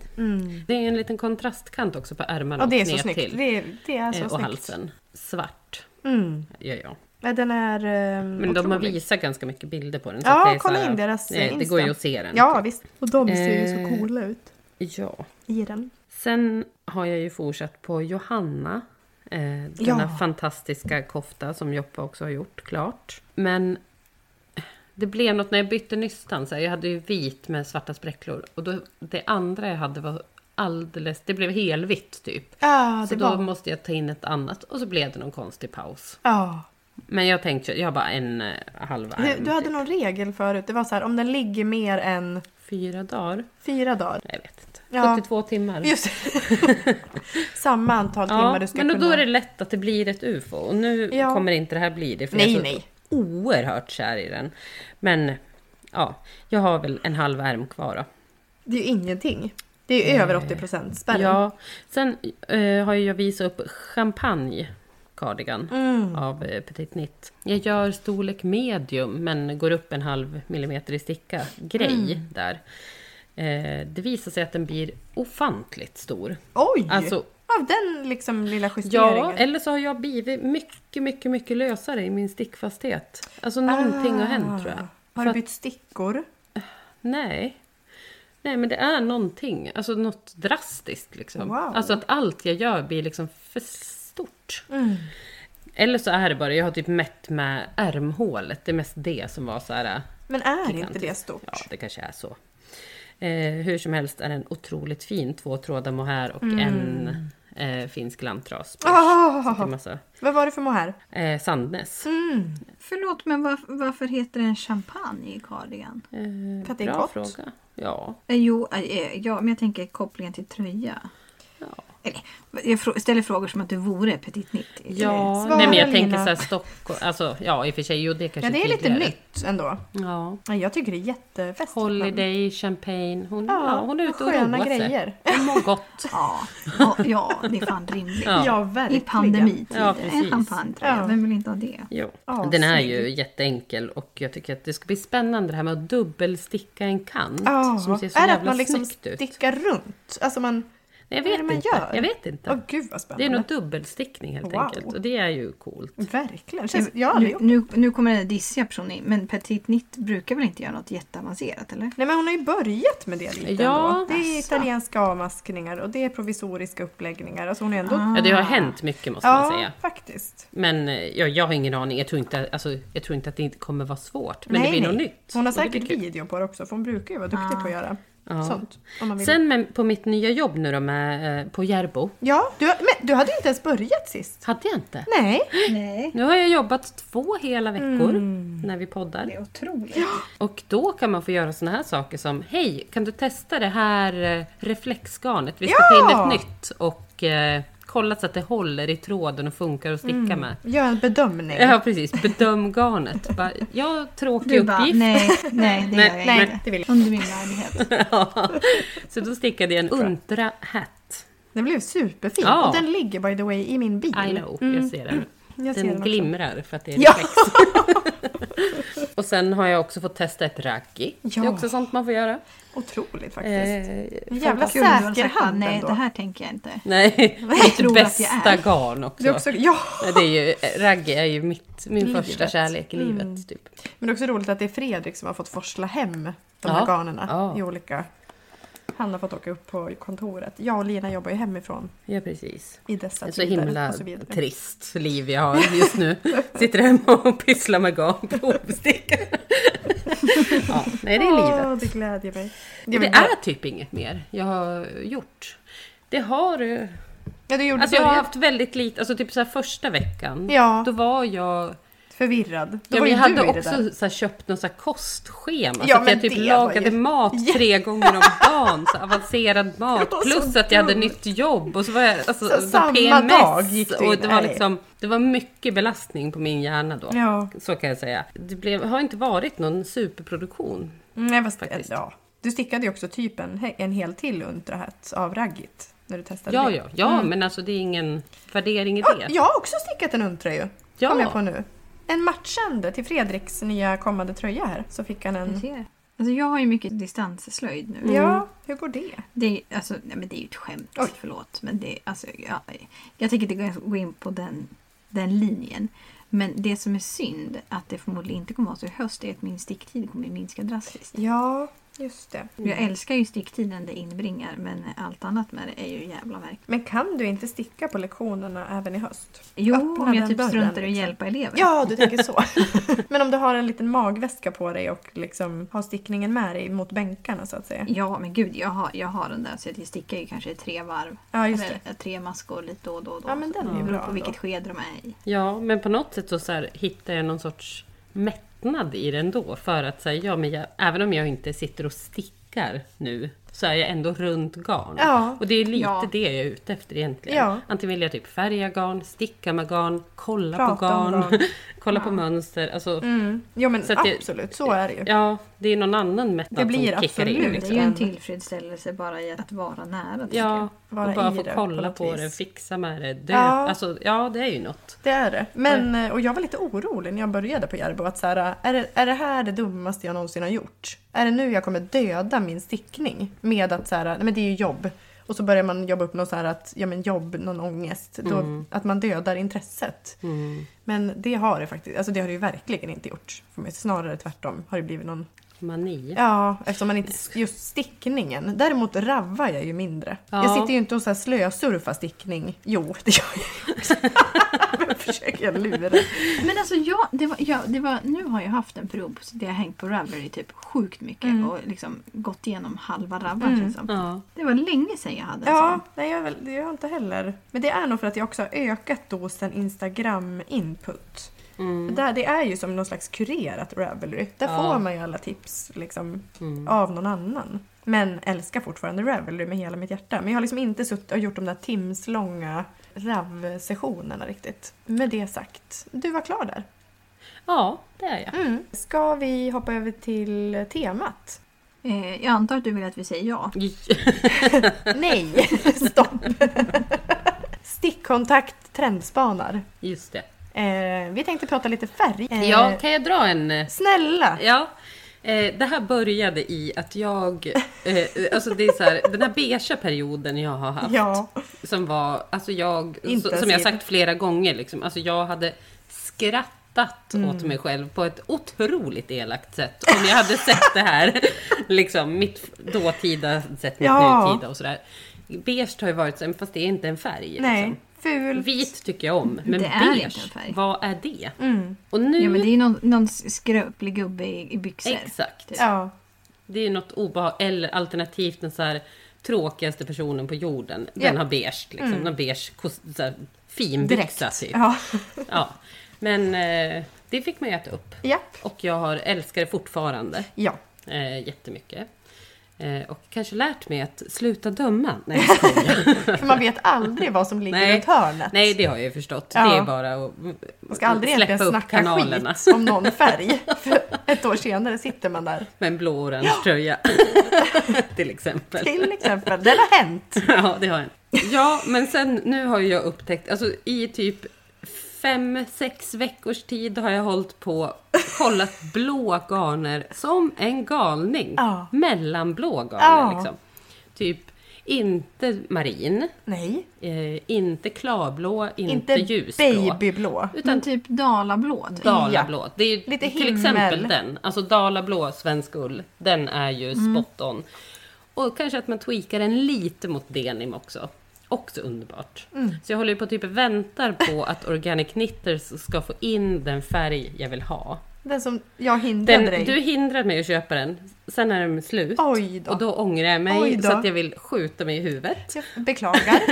Speaker 2: Det är en liten kontrastkant också på ärmarna
Speaker 3: Ja, det är
Speaker 2: och
Speaker 3: så
Speaker 2: Mm. ner
Speaker 3: snyggt.
Speaker 2: till.
Speaker 3: Det är, det är så
Speaker 2: Eh, och
Speaker 3: snyggt.
Speaker 2: halsen. Svart
Speaker 3: Mm.
Speaker 2: gör jag.
Speaker 3: Ja, den är um,
Speaker 2: Men de har visat ganska mycket bilder på den.
Speaker 3: Ja,
Speaker 2: att det är så
Speaker 3: kolla
Speaker 2: här-
Speaker 3: in deras, eh,
Speaker 2: eh, Det
Speaker 3: Insta.
Speaker 2: går ju att se den.
Speaker 3: Ja, visst. Och de
Speaker 2: ser ju så Eh. coola
Speaker 3: ut
Speaker 2: ja.
Speaker 3: i den.
Speaker 2: Sen har jag ju fortsatt på Johanna. Eh, denna
Speaker 3: Ja.
Speaker 2: fantastiska kofta som Joppa också har gjort klart. Men det blev något när jag bytte nystan. Så här, jag hade ju vit med svarta spräcklor. Och då, det andra jag hade var alldeles... Det blev helvitt typ.
Speaker 3: Ja,
Speaker 2: så
Speaker 3: det
Speaker 2: då
Speaker 3: var...
Speaker 2: måste jag ta in ett annat. Och så blev det någon konstig paus.
Speaker 3: Ja.
Speaker 2: Men jag tänkte, jag har bara en eh, halv
Speaker 3: Du,
Speaker 2: arm.
Speaker 3: du hade
Speaker 2: typ.
Speaker 3: någon regel förut. Det var så här, om den ligger mer än
Speaker 2: Fyra dagar?
Speaker 3: fyra dagar.
Speaker 2: Jag vet inte.
Speaker 3: Ja.
Speaker 2: 72 timmar.
Speaker 3: Just *laughs* Samma antal timmar du ska
Speaker 2: men
Speaker 3: kunna...
Speaker 2: då är det lätt att det blir ett UFO. Och nu
Speaker 3: Ja.
Speaker 2: kommer inte det här bli det, för
Speaker 3: Nej,
Speaker 2: jag är så
Speaker 3: nej.
Speaker 2: oerhört kär i den. Men ja, jag har väl en halv ärm kvar då.
Speaker 3: det är ju ingenting. Det är ju över 80 procent spärren.
Speaker 2: Ja, sen eh, har ju jag visat upp champagne cardigan
Speaker 3: Mm.
Speaker 2: av eh, Petit Nitt. Jag gör storlek medium men går upp en halv millimeter i sticka grej
Speaker 3: Mm.
Speaker 2: där. Eh, det visar sig att den blir ofantligt stor.
Speaker 3: Oj!
Speaker 2: Alltså
Speaker 3: Av den liksom lilla
Speaker 2: Ja,
Speaker 3: justeringen.
Speaker 2: eller så har jag blivit mycket, mycket, mycket lösare i min stickfasthet. Alltså någonting har
Speaker 3: Ah.
Speaker 2: hänt tror jag. För
Speaker 3: Har du
Speaker 2: att-
Speaker 3: bytt stickor?
Speaker 2: Nej. Nej, men det är någonting. Alltså något drastiskt liksom.
Speaker 3: Wow.
Speaker 2: Alltså att allt jag gör blir liksom för stort.
Speaker 3: Mm.
Speaker 2: Eller så är det bara, jag har typ mätt med ärmhålet. Det är mest det som var så här...
Speaker 3: Men är inte
Speaker 2: gigantiskt.
Speaker 3: det stort?
Speaker 2: Ja, det kanske är så. Eh, hur som helst är den otroligt fin. Två trådar mohair och en eh, finsk lantras. Så det är
Speaker 3: Mm. Ah,
Speaker 2: massa
Speaker 3: vad var det för Mm, mohair?
Speaker 2: Eh, Sandnes.
Speaker 1: Förlåt, men var, varför heter den champagne i cardigan?
Speaker 2: Eh,
Speaker 3: För att det är
Speaker 2: bra
Speaker 3: kort.
Speaker 2: fråga. Ja.
Speaker 1: Eh, Jo, eh, ja, men jag tänker kopplingen till tröja.
Speaker 2: Ja.
Speaker 1: Eller, jag frå- ställer frågor som att du vore Petit Nitt. eller?
Speaker 2: ja.
Speaker 3: Svara,
Speaker 2: Nej, men jag
Speaker 3: Lina.
Speaker 2: tänker så här Stockholm. Alltså, ja, i och för sig. Jo, det
Speaker 3: Ja,
Speaker 2: kanske
Speaker 3: det är lite
Speaker 2: tydligare.
Speaker 3: nytt ändå.
Speaker 2: Ja.
Speaker 3: Ja, Jag tycker det är jättefestligt.
Speaker 2: Holiday, champagne. Hon,
Speaker 3: Ja,
Speaker 2: ja, hon är ute och
Speaker 3: sköna
Speaker 2: roar sig.
Speaker 3: grejer.
Speaker 2: Hon mår gott.
Speaker 1: Ja, ja, ja, det är fan rimligt.
Speaker 2: Ja.
Speaker 3: Ja,
Speaker 1: I
Speaker 3: verkligen.
Speaker 1: pandemitider.
Speaker 2: Ja,
Speaker 1: en
Speaker 2: precis.
Speaker 1: champagnetröja,
Speaker 3: Ja.
Speaker 1: vem vill inte ha det?
Speaker 2: *laughs* Jo.
Speaker 3: Ja,
Speaker 2: Den är
Speaker 3: snygg.
Speaker 2: ju jätteenkel och jag tycker att det ska bli spännande det här med att dubbelsticka en kant
Speaker 3: Ja.
Speaker 2: som ser så
Speaker 3: är det
Speaker 2: jävla
Speaker 3: att man liksom
Speaker 2: snyggt ut.
Speaker 3: stickar runt? Alltså man...
Speaker 2: Nej, jag
Speaker 3: Vad är det
Speaker 2: vet
Speaker 3: man
Speaker 2: inte.
Speaker 3: gör?
Speaker 2: Jag vet inte.
Speaker 3: Åh gud vad
Speaker 2: det är
Speaker 3: spännande.
Speaker 2: nog dubbelstickning helt
Speaker 3: Wow.
Speaker 2: enkelt. Och det är ju coolt.
Speaker 3: Verkligen. Känns, jag har aldrig
Speaker 1: nu,
Speaker 2: Mm.
Speaker 3: gjort.
Speaker 1: nu, nu kommer den där dissiga personen in, men Petit Nitt brukar väl inte göra något jätteavancerat eller?
Speaker 3: Nej men hon har ju börjat med det lite
Speaker 2: Ja.
Speaker 3: ändå. Det är
Speaker 1: Asså.
Speaker 3: italienska avmaskningar och det är provisoriska uppläggningar. Alltså hon är ändå...
Speaker 2: Ja, det har hänt mycket måste man
Speaker 3: ja
Speaker 2: säga.
Speaker 3: faktiskt.
Speaker 2: Men eh, jag, jag har ingen aning. Jag tror, inte, alltså, jag tror inte att det inte kommer vara svårt. Men det
Speaker 3: Nej,
Speaker 2: blir
Speaker 3: nej.
Speaker 2: något nytt.
Speaker 3: Hon har
Speaker 2: Och det blir
Speaker 3: säkert
Speaker 2: kul.
Speaker 3: video på det också för hon brukar ju vara duktig på att göra
Speaker 2: Ja.
Speaker 3: sånt. Om man vill.
Speaker 2: Sen med, på mitt nya jobb nu då med, eh, på Järbo.
Speaker 3: Ja, du, men du hade ju inte ens börjat sist.
Speaker 2: Hade jag inte.
Speaker 3: Nej.
Speaker 1: Nej.
Speaker 2: Nu har jag jobbat två hela veckor
Speaker 3: Mm.
Speaker 2: när vi poddar.
Speaker 1: Det är otroligt.
Speaker 2: Och då kan man få göra såna här saker som Hej, kan du testa det här eh, reflexgarnet? Vi ska
Speaker 3: Ja!
Speaker 2: ta in ett nytt och eh, kolla så att det håller i tråden och funkar att sticka med.
Speaker 3: Gör en bedömning.
Speaker 2: Ja precis, bedöm garnet. Bara, ja, tråkig
Speaker 1: Du bara,
Speaker 2: uppgift.
Speaker 1: nej, nej, det
Speaker 2: Nej,
Speaker 1: gör jag
Speaker 3: nej,
Speaker 1: inte.
Speaker 3: det vill
Speaker 1: Under min värdighet.
Speaker 2: Ja. Så då stickade jag en untra hat.
Speaker 3: Den blev superfin.
Speaker 2: Ja.
Speaker 3: Och den ligger by the way i min bil.
Speaker 2: I know, jag ser den.
Speaker 3: Mm. Jag ser den
Speaker 2: den
Speaker 3: också.
Speaker 2: glimrar för att det är
Speaker 3: Ja.
Speaker 2: reflex. *laughs* och sen har jag också fått testa ett raggi. Det är
Speaker 3: Ja.
Speaker 2: också sånt man får göra.
Speaker 3: Otroligt faktiskt.
Speaker 2: Eh,
Speaker 3: en jävla
Speaker 1: Kul, du har sagt,
Speaker 3: säker hand
Speaker 1: Nej,
Speaker 3: ändå.
Speaker 1: det här tänker jag
Speaker 3: Mm.
Speaker 1: inte.
Speaker 2: Nej,
Speaker 1: Jag
Speaker 2: mitt
Speaker 1: tror att jag
Speaker 2: bästa
Speaker 1: är.
Speaker 2: garn också.
Speaker 3: Det är också, ja.
Speaker 2: Nej, Det är ju, raggi är ju mitt, min
Speaker 3: Livet. Mm.
Speaker 2: första kärlek i livet. Typ.
Speaker 3: Men det är också roligt att det är Fredrik som har fått forsla hem de
Speaker 2: Ja.
Speaker 3: här garnerna
Speaker 2: Ja.
Speaker 3: i olika... Han har fått åka upp på kontoret. Jag och Lina jobbar ju hemifrån
Speaker 2: Ja, precis.
Speaker 3: i dessa
Speaker 2: Det är så
Speaker 3: tider.
Speaker 2: himla
Speaker 3: och så vidare.
Speaker 2: trist liv jag har just nu.
Speaker 3: *laughs*
Speaker 2: Sitter hemma och pysslar med garn, provstickar.
Speaker 3: *laughs*
Speaker 2: ja, nej, det är livet.
Speaker 3: Åh, det glädjer mig.
Speaker 2: Det,
Speaker 3: Jag vill bara-
Speaker 2: är typ inget mer jag har gjort. Det har... eh,
Speaker 3: Ja, du gjorde
Speaker 2: Alltså jag har
Speaker 3: början.
Speaker 2: haft väldigt lite, alltså typ så här första veckan.
Speaker 3: Ja.
Speaker 2: Då var jag...
Speaker 3: Förvirrad. Då
Speaker 2: Ja,
Speaker 3: var
Speaker 2: men
Speaker 3: ju
Speaker 2: jag hade
Speaker 3: du i det
Speaker 2: också
Speaker 3: där.
Speaker 2: så här, köpt någon så här kostschema.
Speaker 3: Ja,
Speaker 2: så att
Speaker 3: men
Speaker 2: jag typ
Speaker 3: det var
Speaker 2: lagade
Speaker 3: ju-
Speaker 2: mat tre gånger om dagen. Så avancerad mat.
Speaker 3: *laughs* Det var så
Speaker 2: Plus att jag hade
Speaker 3: dumt.
Speaker 2: nytt jobb. Och så var jag alltså,
Speaker 3: Så
Speaker 2: så
Speaker 3: samma
Speaker 2: PMS.
Speaker 3: dag gick du
Speaker 2: och
Speaker 3: in.
Speaker 2: det var,
Speaker 3: Nej.
Speaker 2: liksom, det var mycket belastning på min hjärna då.
Speaker 3: Ja.
Speaker 2: Så kan jag säga. Det blev, har inte varit någon superproduktion.
Speaker 3: Nej, fast,
Speaker 2: Faktiskt.
Speaker 3: ja. Du stickade ju också typ en, en hel till untrahatt av raggigt. När du testade
Speaker 2: Ja,
Speaker 3: det. Mm.
Speaker 2: ja, ja men alltså det är ingen värdering i
Speaker 3: Ja,
Speaker 2: det.
Speaker 3: jag har också stickat en untra ju.
Speaker 2: Ja.
Speaker 3: Kom jag på nu. En matchande till Fredriks nya kommande tröja här. Så fick han en...
Speaker 1: Jag ser. Alltså jag har ju mycket distansslöjd nu.
Speaker 3: Ja, hur går det?
Speaker 1: Det, är, alltså, nej, men det är ju ett skämt,
Speaker 3: Oj.
Speaker 1: förlåt. Men det, alltså, jag, jag tänker inte gå in- gå in på den, den linjen. Men det som är synd, att det förmodligen inte kommer att vara så i höst, är att min sticktid kommer att minska drastiskt.
Speaker 3: Ja, just det.
Speaker 1: Jag älskar ju sticktiden det inbringar, men allt annat med det är ju jävla verk.
Speaker 3: Men kan du inte sticka på lektionerna även i höst?
Speaker 1: Jo,
Speaker 3: Öppna
Speaker 1: om jag
Speaker 3: den
Speaker 1: typ
Speaker 3: dörren,
Speaker 1: struntar i att
Speaker 3: liksom.
Speaker 1: hjälpa elever.
Speaker 3: Ja, *laughs* du tänker så. Men om du har en liten magväska på dig och liksom har stickningen med dig mot bänkarna så att säga.
Speaker 1: Ja, men gud, jag har, jag har den där så att jag stickar ju kanske i tre varv.
Speaker 3: Ja, just
Speaker 1: eller tre maskor lite då och då. och då
Speaker 3: Ja, men den är ju
Speaker 1: Beror
Speaker 3: bra
Speaker 1: på
Speaker 3: ändå.
Speaker 1: vilket skede de är i.
Speaker 2: Ja, men på något sätt så, så här, hittar jag någon sorts mättnad i den då. För att så här, ja, men jag, även om jag inte sitter och stickar nu så är jag ändå runt garn.
Speaker 3: Ja.
Speaker 2: Och det är lite
Speaker 1: Ja.
Speaker 2: det jag är ute efter egentligen.
Speaker 3: Ja.
Speaker 2: Antingen vill jag typ färga garn, sticka med garn, kolla på
Speaker 3: Prata om
Speaker 2: garn,
Speaker 3: garn.
Speaker 2: *laughs* kolla på mönster. Alltså,
Speaker 3: Mm. Jo men
Speaker 2: Så att det-
Speaker 3: absolut, så är det ju.
Speaker 2: Ja, det är någon annan mättnad
Speaker 3: Det blir
Speaker 2: som kickar in.
Speaker 3: absolut
Speaker 1: Det är
Speaker 2: Liksom.
Speaker 1: ju en tillfredsställelse bara i att vara nära. tänker
Speaker 2: Ja,
Speaker 3: Vara
Speaker 2: och bara
Speaker 3: i
Speaker 2: få
Speaker 3: det på
Speaker 2: kolla
Speaker 3: något
Speaker 2: på
Speaker 3: vis.
Speaker 2: det, fixa med det, dö.
Speaker 3: Ja.
Speaker 2: Alltså, ja, det är ju något.
Speaker 3: Det är det. Men, eh, och jag var lite orolig när jag började på Järbo. Att så här, är, det, är det här det dummaste jag någonsin har gjort? Är det nu jag kommer döda min stickning? Med att så här, nej men det är ju jobb. Och så börjar man jobba upp någon så här att, ja men jobb, någon ångest. Då, att man dödar intresset.
Speaker 2: Mm.
Speaker 3: Men det har det faktiskt, alltså det har det ju verkligen inte gjort. För mig. Snarare tvärtom har det blivit någon,
Speaker 2: Mani.
Speaker 3: ja eftersom man inte, just stickningen. Däremot ravar jag ju mindre.
Speaker 2: Ja.
Speaker 3: Jag sitter ju inte och så här slösurfar stickning. Jo, det gör jag ju
Speaker 2: *laughs*
Speaker 3: också. Men försöker jag lura.
Speaker 1: Men alltså jag, det var, jag, det var, nu har jag haft en period där jag hängt på Ravelry typ sjukt mycket och liksom gått igenom halva rabban känns det som.
Speaker 2: Ja.
Speaker 1: Det var länge sedan jag hade en
Speaker 3: Ja,
Speaker 1: sån.
Speaker 3: nej, jag, är väl- det gör jag inte heller. Men det är nog för att jag också har ökat dosen Instagram-input. Där, det är ju som någon slags kurerat Ravelry. Där
Speaker 2: Mm. Ja.
Speaker 3: får man ju alla tips liksom,
Speaker 2: Mm.
Speaker 3: av någon annan. Men älskar fortfarande Ravelry med hela mitt hjärta. Men jag har liksom inte suttit och gjort de där timslånga RAV-sessionerna riktigt. Med det sagt, du var klar där.
Speaker 2: ja, det är jag.
Speaker 3: Mm. Ska vi hoppa över till temat?
Speaker 1: Eh, jag antar att du vill att vi säger ja.
Speaker 3: Nej, *laughs* stopp! Stickkontakt trendspanar.
Speaker 2: *laughs* Just det.
Speaker 3: Eh, vi tänkte prata lite färg. Eh,
Speaker 2: Ja, kan jag dra en... eh,
Speaker 3: Snälla!
Speaker 2: Ja. Eh, det här började i att jag, eh, alltså det är så här, den här beigea perioden jag har haft,
Speaker 3: Ja.
Speaker 2: som var, alltså jag, så,
Speaker 3: Intensiv.
Speaker 2: som jag sagt flera gånger, liksom, alltså jag hade skrattat åt mig själv på ett otroligt elakt sätt om jag hade sett det här, *laughs* liksom mitt dåtida sätt mot
Speaker 3: Ja.
Speaker 2: nutida och sådär. Beige har ju varit så, men fast det är inte en färg.
Speaker 3: Nej,
Speaker 2: Liksom.
Speaker 3: ful.
Speaker 2: Vit tycker jag om, men
Speaker 1: Det är
Speaker 2: beige,
Speaker 1: inte en färg.
Speaker 2: vad är det? Och nu,
Speaker 1: Ja, men det är ju någon, någon skröplig gubbe i, i byxor.
Speaker 2: exakt.
Speaker 3: Ja.
Speaker 2: Det är något obehag, eller alternativt den så här tråkigaste personen på jorden. Den
Speaker 3: Ja.
Speaker 2: har beige, liksom. Den har beige kos- så här, finbyxa typ. Ja.
Speaker 3: Ja.
Speaker 2: Men eh, det fick man ju äta upp.
Speaker 3: Japp.
Speaker 2: Och jag har älskar det fortfarande
Speaker 3: Ja.
Speaker 2: eh, jättemycket. Eh, och kanske lärt mig att sluta döma. Nej, jag skojar.
Speaker 3: För man vet aldrig vad som ligger runt hörnet.
Speaker 2: Nej, det har jag ju förstått.
Speaker 3: Ja.
Speaker 2: Det är bara att
Speaker 3: Man ska aldrig egentligen snacka skit om någon färg. För ett år senare sitter man där.
Speaker 2: Med en blå och orange
Speaker 3: *laughs*
Speaker 2: tröja. Till exempel.
Speaker 3: Till exempel, det har hänt.
Speaker 2: Ja, det har jag. Ja, men sen nu har ju jag upptäckt, alltså i typ fem, sex veckors tid har jag hållit på kollat blå garner som en galning.
Speaker 3: Ja.
Speaker 2: Mellanblå garner
Speaker 3: Ja.
Speaker 2: liksom. Typ inte marin,
Speaker 3: Nej,
Speaker 2: eh, inte klarblå, inte,
Speaker 3: inte
Speaker 2: ljusblå.
Speaker 3: babyblå.
Speaker 1: Men typ dalablå. Typ.
Speaker 2: Dalablå. Det är ju
Speaker 3: Lite
Speaker 2: till
Speaker 3: himmel.
Speaker 2: exempel den. Alltså Dalablå svensk ull. Den är ju
Speaker 3: Mm.
Speaker 2: spot on. Och kanske att man tweakar den lite mot denim också. Också underbart.
Speaker 3: Mm.
Speaker 2: Så jag håller ju på och typ väntar på att Organic Knitters ska få in den färg jag vill ha.
Speaker 3: Den som jag hindrade
Speaker 2: Den,
Speaker 3: dig.
Speaker 2: du hindrade mig att köpa den. Sen är den slut.
Speaker 3: Oj då.
Speaker 2: Och då ångrar jag
Speaker 3: Oj
Speaker 2: mig
Speaker 3: då.
Speaker 2: så att jag vill skjuta mig i huvudet. *laughs*
Speaker 3: Jag beklagar.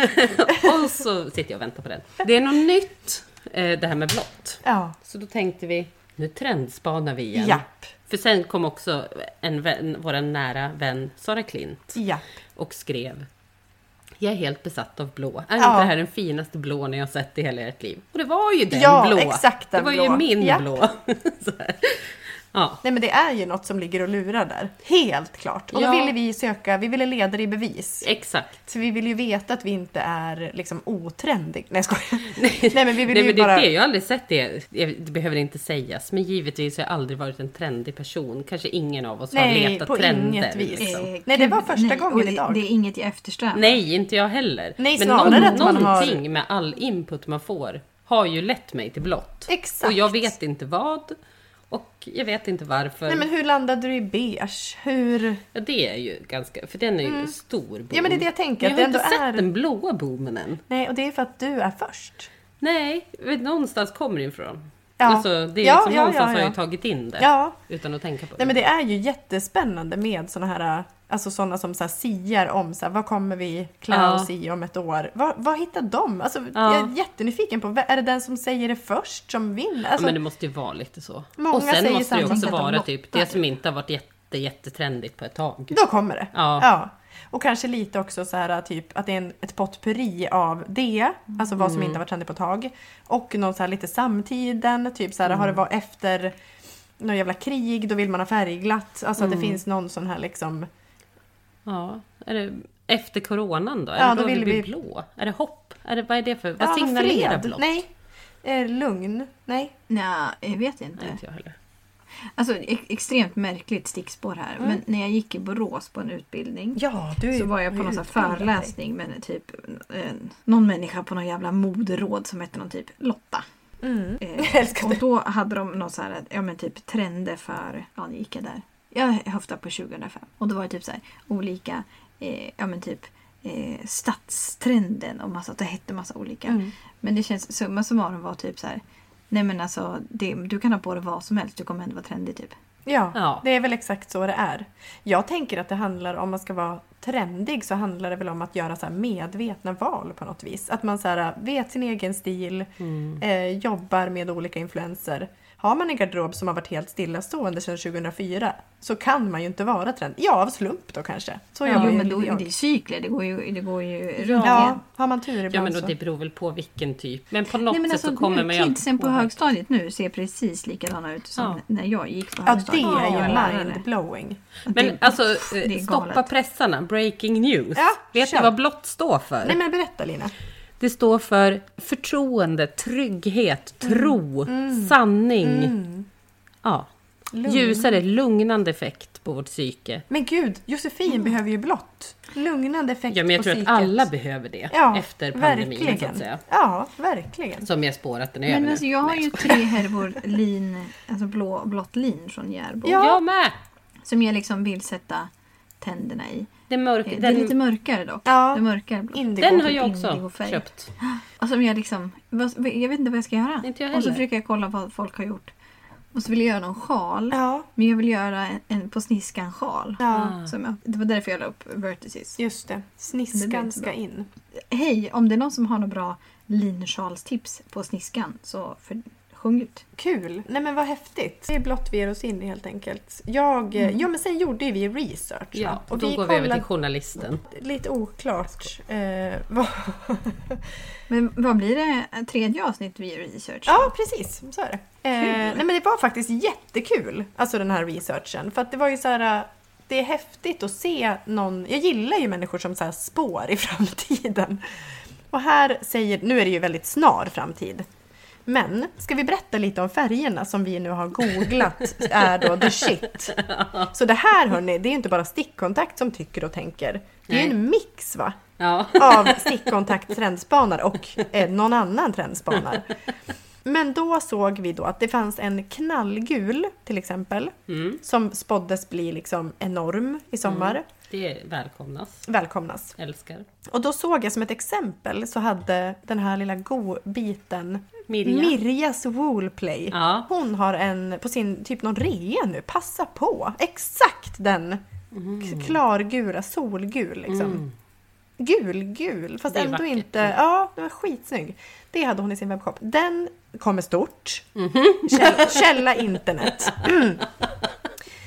Speaker 2: och så sitter jag och väntar på den. Det är något nytt, eh, det här med blått.
Speaker 3: Ja.
Speaker 2: Så då tänkte vi, nu trendspanar vi igen.
Speaker 3: Japp.
Speaker 2: För sen kom också en vän, vår nära vän Sara Klint
Speaker 3: Ja.
Speaker 2: och skrev Jag är helt besatt av blå. Är
Speaker 3: Ja.
Speaker 2: inte det här den finaste blå ni har sett i hela ert liv? Och det var ju den
Speaker 3: Ja,
Speaker 2: blå.
Speaker 3: exakt den
Speaker 2: det var
Speaker 3: blå.
Speaker 2: ju min
Speaker 3: Japp.
Speaker 2: blå. *laughs* Så här. ja.
Speaker 3: Nej men det är ju något som ligger och lurar där. Helt klart. Och då
Speaker 2: Ja.
Speaker 3: ville vi söka, vi ville leda det i bevis.
Speaker 2: Exakt.
Speaker 3: Så vi vill ju veta att vi inte är liksom otrendig. Nej jag skojar. Nej men vi
Speaker 2: Nej,
Speaker 3: vill ju
Speaker 2: men det är
Speaker 3: bara...
Speaker 2: det, jag har aldrig sett det. Jag- Det behöver inte sägas. Men givetvis har jag aldrig varit en trendig person. Kanske ingen av oss
Speaker 3: Nej,
Speaker 2: har letat
Speaker 3: på
Speaker 2: trender.
Speaker 3: inget vis.
Speaker 2: liksom.
Speaker 1: Eh,
Speaker 3: Nej, det var
Speaker 1: gud,
Speaker 3: första
Speaker 1: nej,
Speaker 3: gången
Speaker 1: och det-
Speaker 3: idag.
Speaker 1: Det är inget jag eftersträvar.
Speaker 2: Nej, inte jag heller.
Speaker 3: Nej,
Speaker 2: men
Speaker 3: snarare att man har-
Speaker 2: någonting med all input man får har ju lett mig till blått. Och
Speaker 3: Exakt.
Speaker 2: jag vet inte vad. Och jag vet inte varför.
Speaker 3: Nej men hur landade du i beige? Hur...
Speaker 2: Ja, det är ju ganska... För den är ju en stor boom.
Speaker 3: Mm. Ja, men det är det jag tänker,
Speaker 2: Men
Speaker 3: att
Speaker 2: Jag har inte
Speaker 3: det ändå
Speaker 2: sett
Speaker 3: är-
Speaker 2: den blåa boomen än.
Speaker 3: Nej och det är för att du är först.
Speaker 2: Nej, vet, någonstans kommer det ifrån.
Speaker 3: Ja.
Speaker 2: Alltså, det är
Speaker 3: Ja,
Speaker 2: liksom,
Speaker 3: ja,
Speaker 2: någonstans
Speaker 3: ja,
Speaker 2: har jag
Speaker 3: ja.
Speaker 2: ju tagit in det.
Speaker 3: Ja.
Speaker 2: Utan att tänka på det.
Speaker 3: Nej men det är ju jättespännande med såna här, alltså såna som så här siar om så här, vad kommer vi klä
Speaker 2: Ja.
Speaker 3: oss i om ett år? Vad, vad hittar de? Alltså,
Speaker 2: Ja.
Speaker 3: Jag är jättenyfiken på, är det den som säger det först som vinner? Alltså,
Speaker 2: ja, men det måste ju vara lite så.
Speaker 3: Många
Speaker 2: och sen
Speaker 3: säger
Speaker 2: måste det ju
Speaker 3: samma
Speaker 2: också
Speaker 3: sak om
Speaker 2: vara
Speaker 3: blått.
Speaker 2: typ det som inte har varit jätte, jättetrendigt på ett tag.
Speaker 3: Då kommer det.
Speaker 2: Ja.
Speaker 3: Och kanske lite också så här typ att det är en, ett potpurri av det, alltså vad
Speaker 2: Mm.
Speaker 3: som inte har varit trendigt på ett tag. Och någon så här lite samtiden, typ så här har det
Speaker 2: Mm.
Speaker 3: varit efter något jävla krig, då vill man ha färgglatt. Alltså att
Speaker 2: Mm.
Speaker 3: det finns någon sån här liksom,
Speaker 2: Ja, är det efter coronan då? Är
Speaker 3: Ja,
Speaker 2: det
Speaker 3: då
Speaker 2: då,
Speaker 3: vill
Speaker 2: vi blir
Speaker 3: vi-
Speaker 2: blå? Är det hopp? Är det, vad är det för...
Speaker 3: ja,
Speaker 2: Vad signalerar
Speaker 3: Ah, fred.
Speaker 2: blått?
Speaker 3: Nej. Eh, lugn. Nej.
Speaker 1: Nej, jag vet inte.
Speaker 2: Nej, inte jag heller.
Speaker 1: Alltså, e- extremt märkligt stickspår här.
Speaker 2: Mm.
Speaker 1: Men när jag gick i Borås på en utbildning
Speaker 3: Ja, du
Speaker 1: så var jag på någon sån här föreläsning med typ en, någon människa på någon jävla moderåd som hette någon typ Lotta.
Speaker 3: Mm.
Speaker 1: Eh,
Speaker 3: *laughs* Jag älskar
Speaker 1: och
Speaker 3: det.
Speaker 1: då hade de någon så här, ja men typ trender för, ja nu gick jag där. Jag höftade på 2005 och då var det typ så här olika, eh, ja men typ eh, stadstrenden och massa, det hette massa olika.
Speaker 3: Mm.
Speaker 1: Men det känns, summa summarum var typ så här, nej men alltså det, du kan ha på dig vad som helst, du kommer ändå vara trendig typ.
Speaker 3: Ja,
Speaker 2: Ja.
Speaker 3: det är väl exakt så det är. Jag tänker att det handlar om man ska vara trendig så handlar det väl om att göra så här medvetna val på något vis. Att man så här äh, vet sin egen stil,
Speaker 2: Mm.
Speaker 3: eh, jobbar med olika influenser. Har man en garderob som har varit helt stillastående sedan 2004 så kan man ju inte vara trendig. Ja, av slump då kanske. Så jobbar
Speaker 1: jo
Speaker 3: ju
Speaker 1: men då,
Speaker 3: jag.
Speaker 1: det är cykler, det går ju, det går ju runt
Speaker 3: Ja,
Speaker 1: igen.
Speaker 3: har man tur
Speaker 2: Ja,
Speaker 3: ibland
Speaker 2: men då,
Speaker 3: så.
Speaker 2: det beror väl på vilken typ. Men på något
Speaker 1: Nej men
Speaker 2: sätt
Speaker 1: alltså
Speaker 2: så kommer man
Speaker 1: nu,
Speaker 2: ju
Speaker 1: kidsen
Speaker 2: alltid
Speaker 1: på högstadiet nu ser precis likadana ut som
Speaker 2: Ja.
Speaker 1: när jag gick på
Speaker 3: Ja, det
Speaker 1: högstadiet.
Speaker 3: är
Speaker 1: Jag
Speaker 3: ju
Speaker 1: lärare.
Speaker 3: mindblowing.
Speaker 2: Men alltså,
Speaker 1: det är
Speaker 2: eh,
Speaker 1: galet.
Speaker 2: stoppa pressarna. Breaking news.
Speaker 3: Ja,
Speaker 2: Vet
Speaker 3: kör.
Speaker 2: ni vad blått står för?
Speaker 3: Nej men berätta Lina.
Speaker 2: Det står för
Speaker 3: Mm.
Speaker 2: förtroende, trygghet, tro, sanning. Ja,
Speaker 3: Lugn.
Speaker 2: Ljusare, lugnande effekt på vårt psyke.
Speaker 3: Men gud, Josefin
Speaker 1: Mm.
Speaker 3: behöver ju blått. Lugnande effekt
Speaker 2: Ja, men jag
Speaker 3: på
Speaker 2: tror att
Speaker 3: psyket.
Speaker 2: alla behöver det efter pandemin
Speaker 3: verkligen.
Speaker 2: så att säga.
Speaker 3: Ja, verkligen.
Speaker 2: Som jag spår att den är över
Speaker 1: Men
Speaker 2: nu.
Speaker 1: alltså, jag har
Speaker 2: Nej,
Speaker 1: ju
Speaker 2: skojar.
Speaker 1: tre härvor lin, alltså blå, blått lin från Järbo.
Speaker 3: Ja.
Speaker 2: Jag med!
Speaker 1: Som jag liksom vill sätta tänderna i.
Speaker 2: Det mörk,
Speaker 1: Eh,
Speaker 2: den,
Speaker 1: Det är lite mörkare dock.
Speaker 3: Ja.
Speaker 1: Det är mörkare blått.
Speaker 3: Indigo.
Speaker 2: den har
Speaker 1: typ
Speaker 2: jag också
Speaker 1: indigofärg.
Speaker 2: köpt.
Speaker 1: Och som jag liksom, vad- jag vet inte vad jag ska göra.
Speaker 2: Inte jag
Speaker 1: och så
Speaker 2: heller.
Speaker 1: försöker jag kolla vad folk har gjort. Och så vill jag göra någon sjal.
Speaker 3: Ja,
Speaker 1: Men jag vill göra en, en på sniskan sjal.
Speaker 3: ja.
Speaker 1: Som jag, det var därför jag la upp vertices.
Speaker 3: Just det.
Speaker 1: Det blir
Speaker 3: Sniskan
Speaker 1: inte
Speaker 3: ska
Speaker 1: bra.
Speaker 3: in.
Speaker 1: Hej, om det är någon som har några bra linsjalstips på sniskan så för, sjung ut.
Speaker 3: Kul! Nej men vad häftigt. Det är blott vi ger oss in i helt enkelt. Jag,
Speaker 1: Mm.
Speaker 3: Ja men sen gjorde ju vi research. va?
Speaker 2: Ja, och då
Speaker 3: vi
Speaker 2: går vi över
Speaker 3: kollade-
Speaker 2: till journalisten.
Speaker 3: Lite oklart eh, *laughs* vad...
Speaker 1: Men vad blir det? eh, Tredje avsnitt via research?
Speaker 3: Ja precis, så är det. Eh, nej men det var faktiskt jättekul, alltså den här researchen. För att det var ju så här... eh, Det är häftigt att se någon... Jag gillar ju människor som så här spår i *laughs* framtiden. Och här säger... Nu är det ju väldigt snar framtid. Men ska vi berätta lite om färgerna som vi nu har googlat är då the shit. Så det här hörni, det är ju inte bara stickkontakt som tycker och tänker. Det är ju en mix va?
Speaker 2: Ja.
Speaker 3: av stickkontakt trendspanar och eh, någon annan trendspanar. Men då såg vi då att det fanns en knallgul till exempel som spåddes bli liksom enorm i sommar.
Speaker 2: Det välkomnas.
Speaker 3: Välkomnas.
Speaker 2: Älskar.
Speaker 3: Och då såg jag som ett exempel så hade den här lilla go-biten
Speaker 2: Mirja.
Speaker 3: Mirjas Woolplay.
Speaker 2: Ja.
Speaker 3: Hon har en på sin typ någon rea nu. Passa på! Exakt den
Speaker 2: Mm.
Speaker 3: k- klargula, solgul liksom. Gul-gul, fast
Speaker 2: Det är
Speaker 3: ändå
Speaker 2: vackert. Mm.
Speaker 3: inte... Ja, den var skitsnygg. Det hade hon i sin webbshop. Den kommer stort.
Speaker 2: Mhm.
Speaker 3: Käll, källa internet. Mm.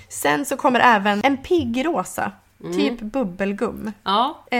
Speaker 3: Sen så kommer även en piggrosa, typ bubbelgum.
Speaker 2: Ja,
Speaker 3: Eh,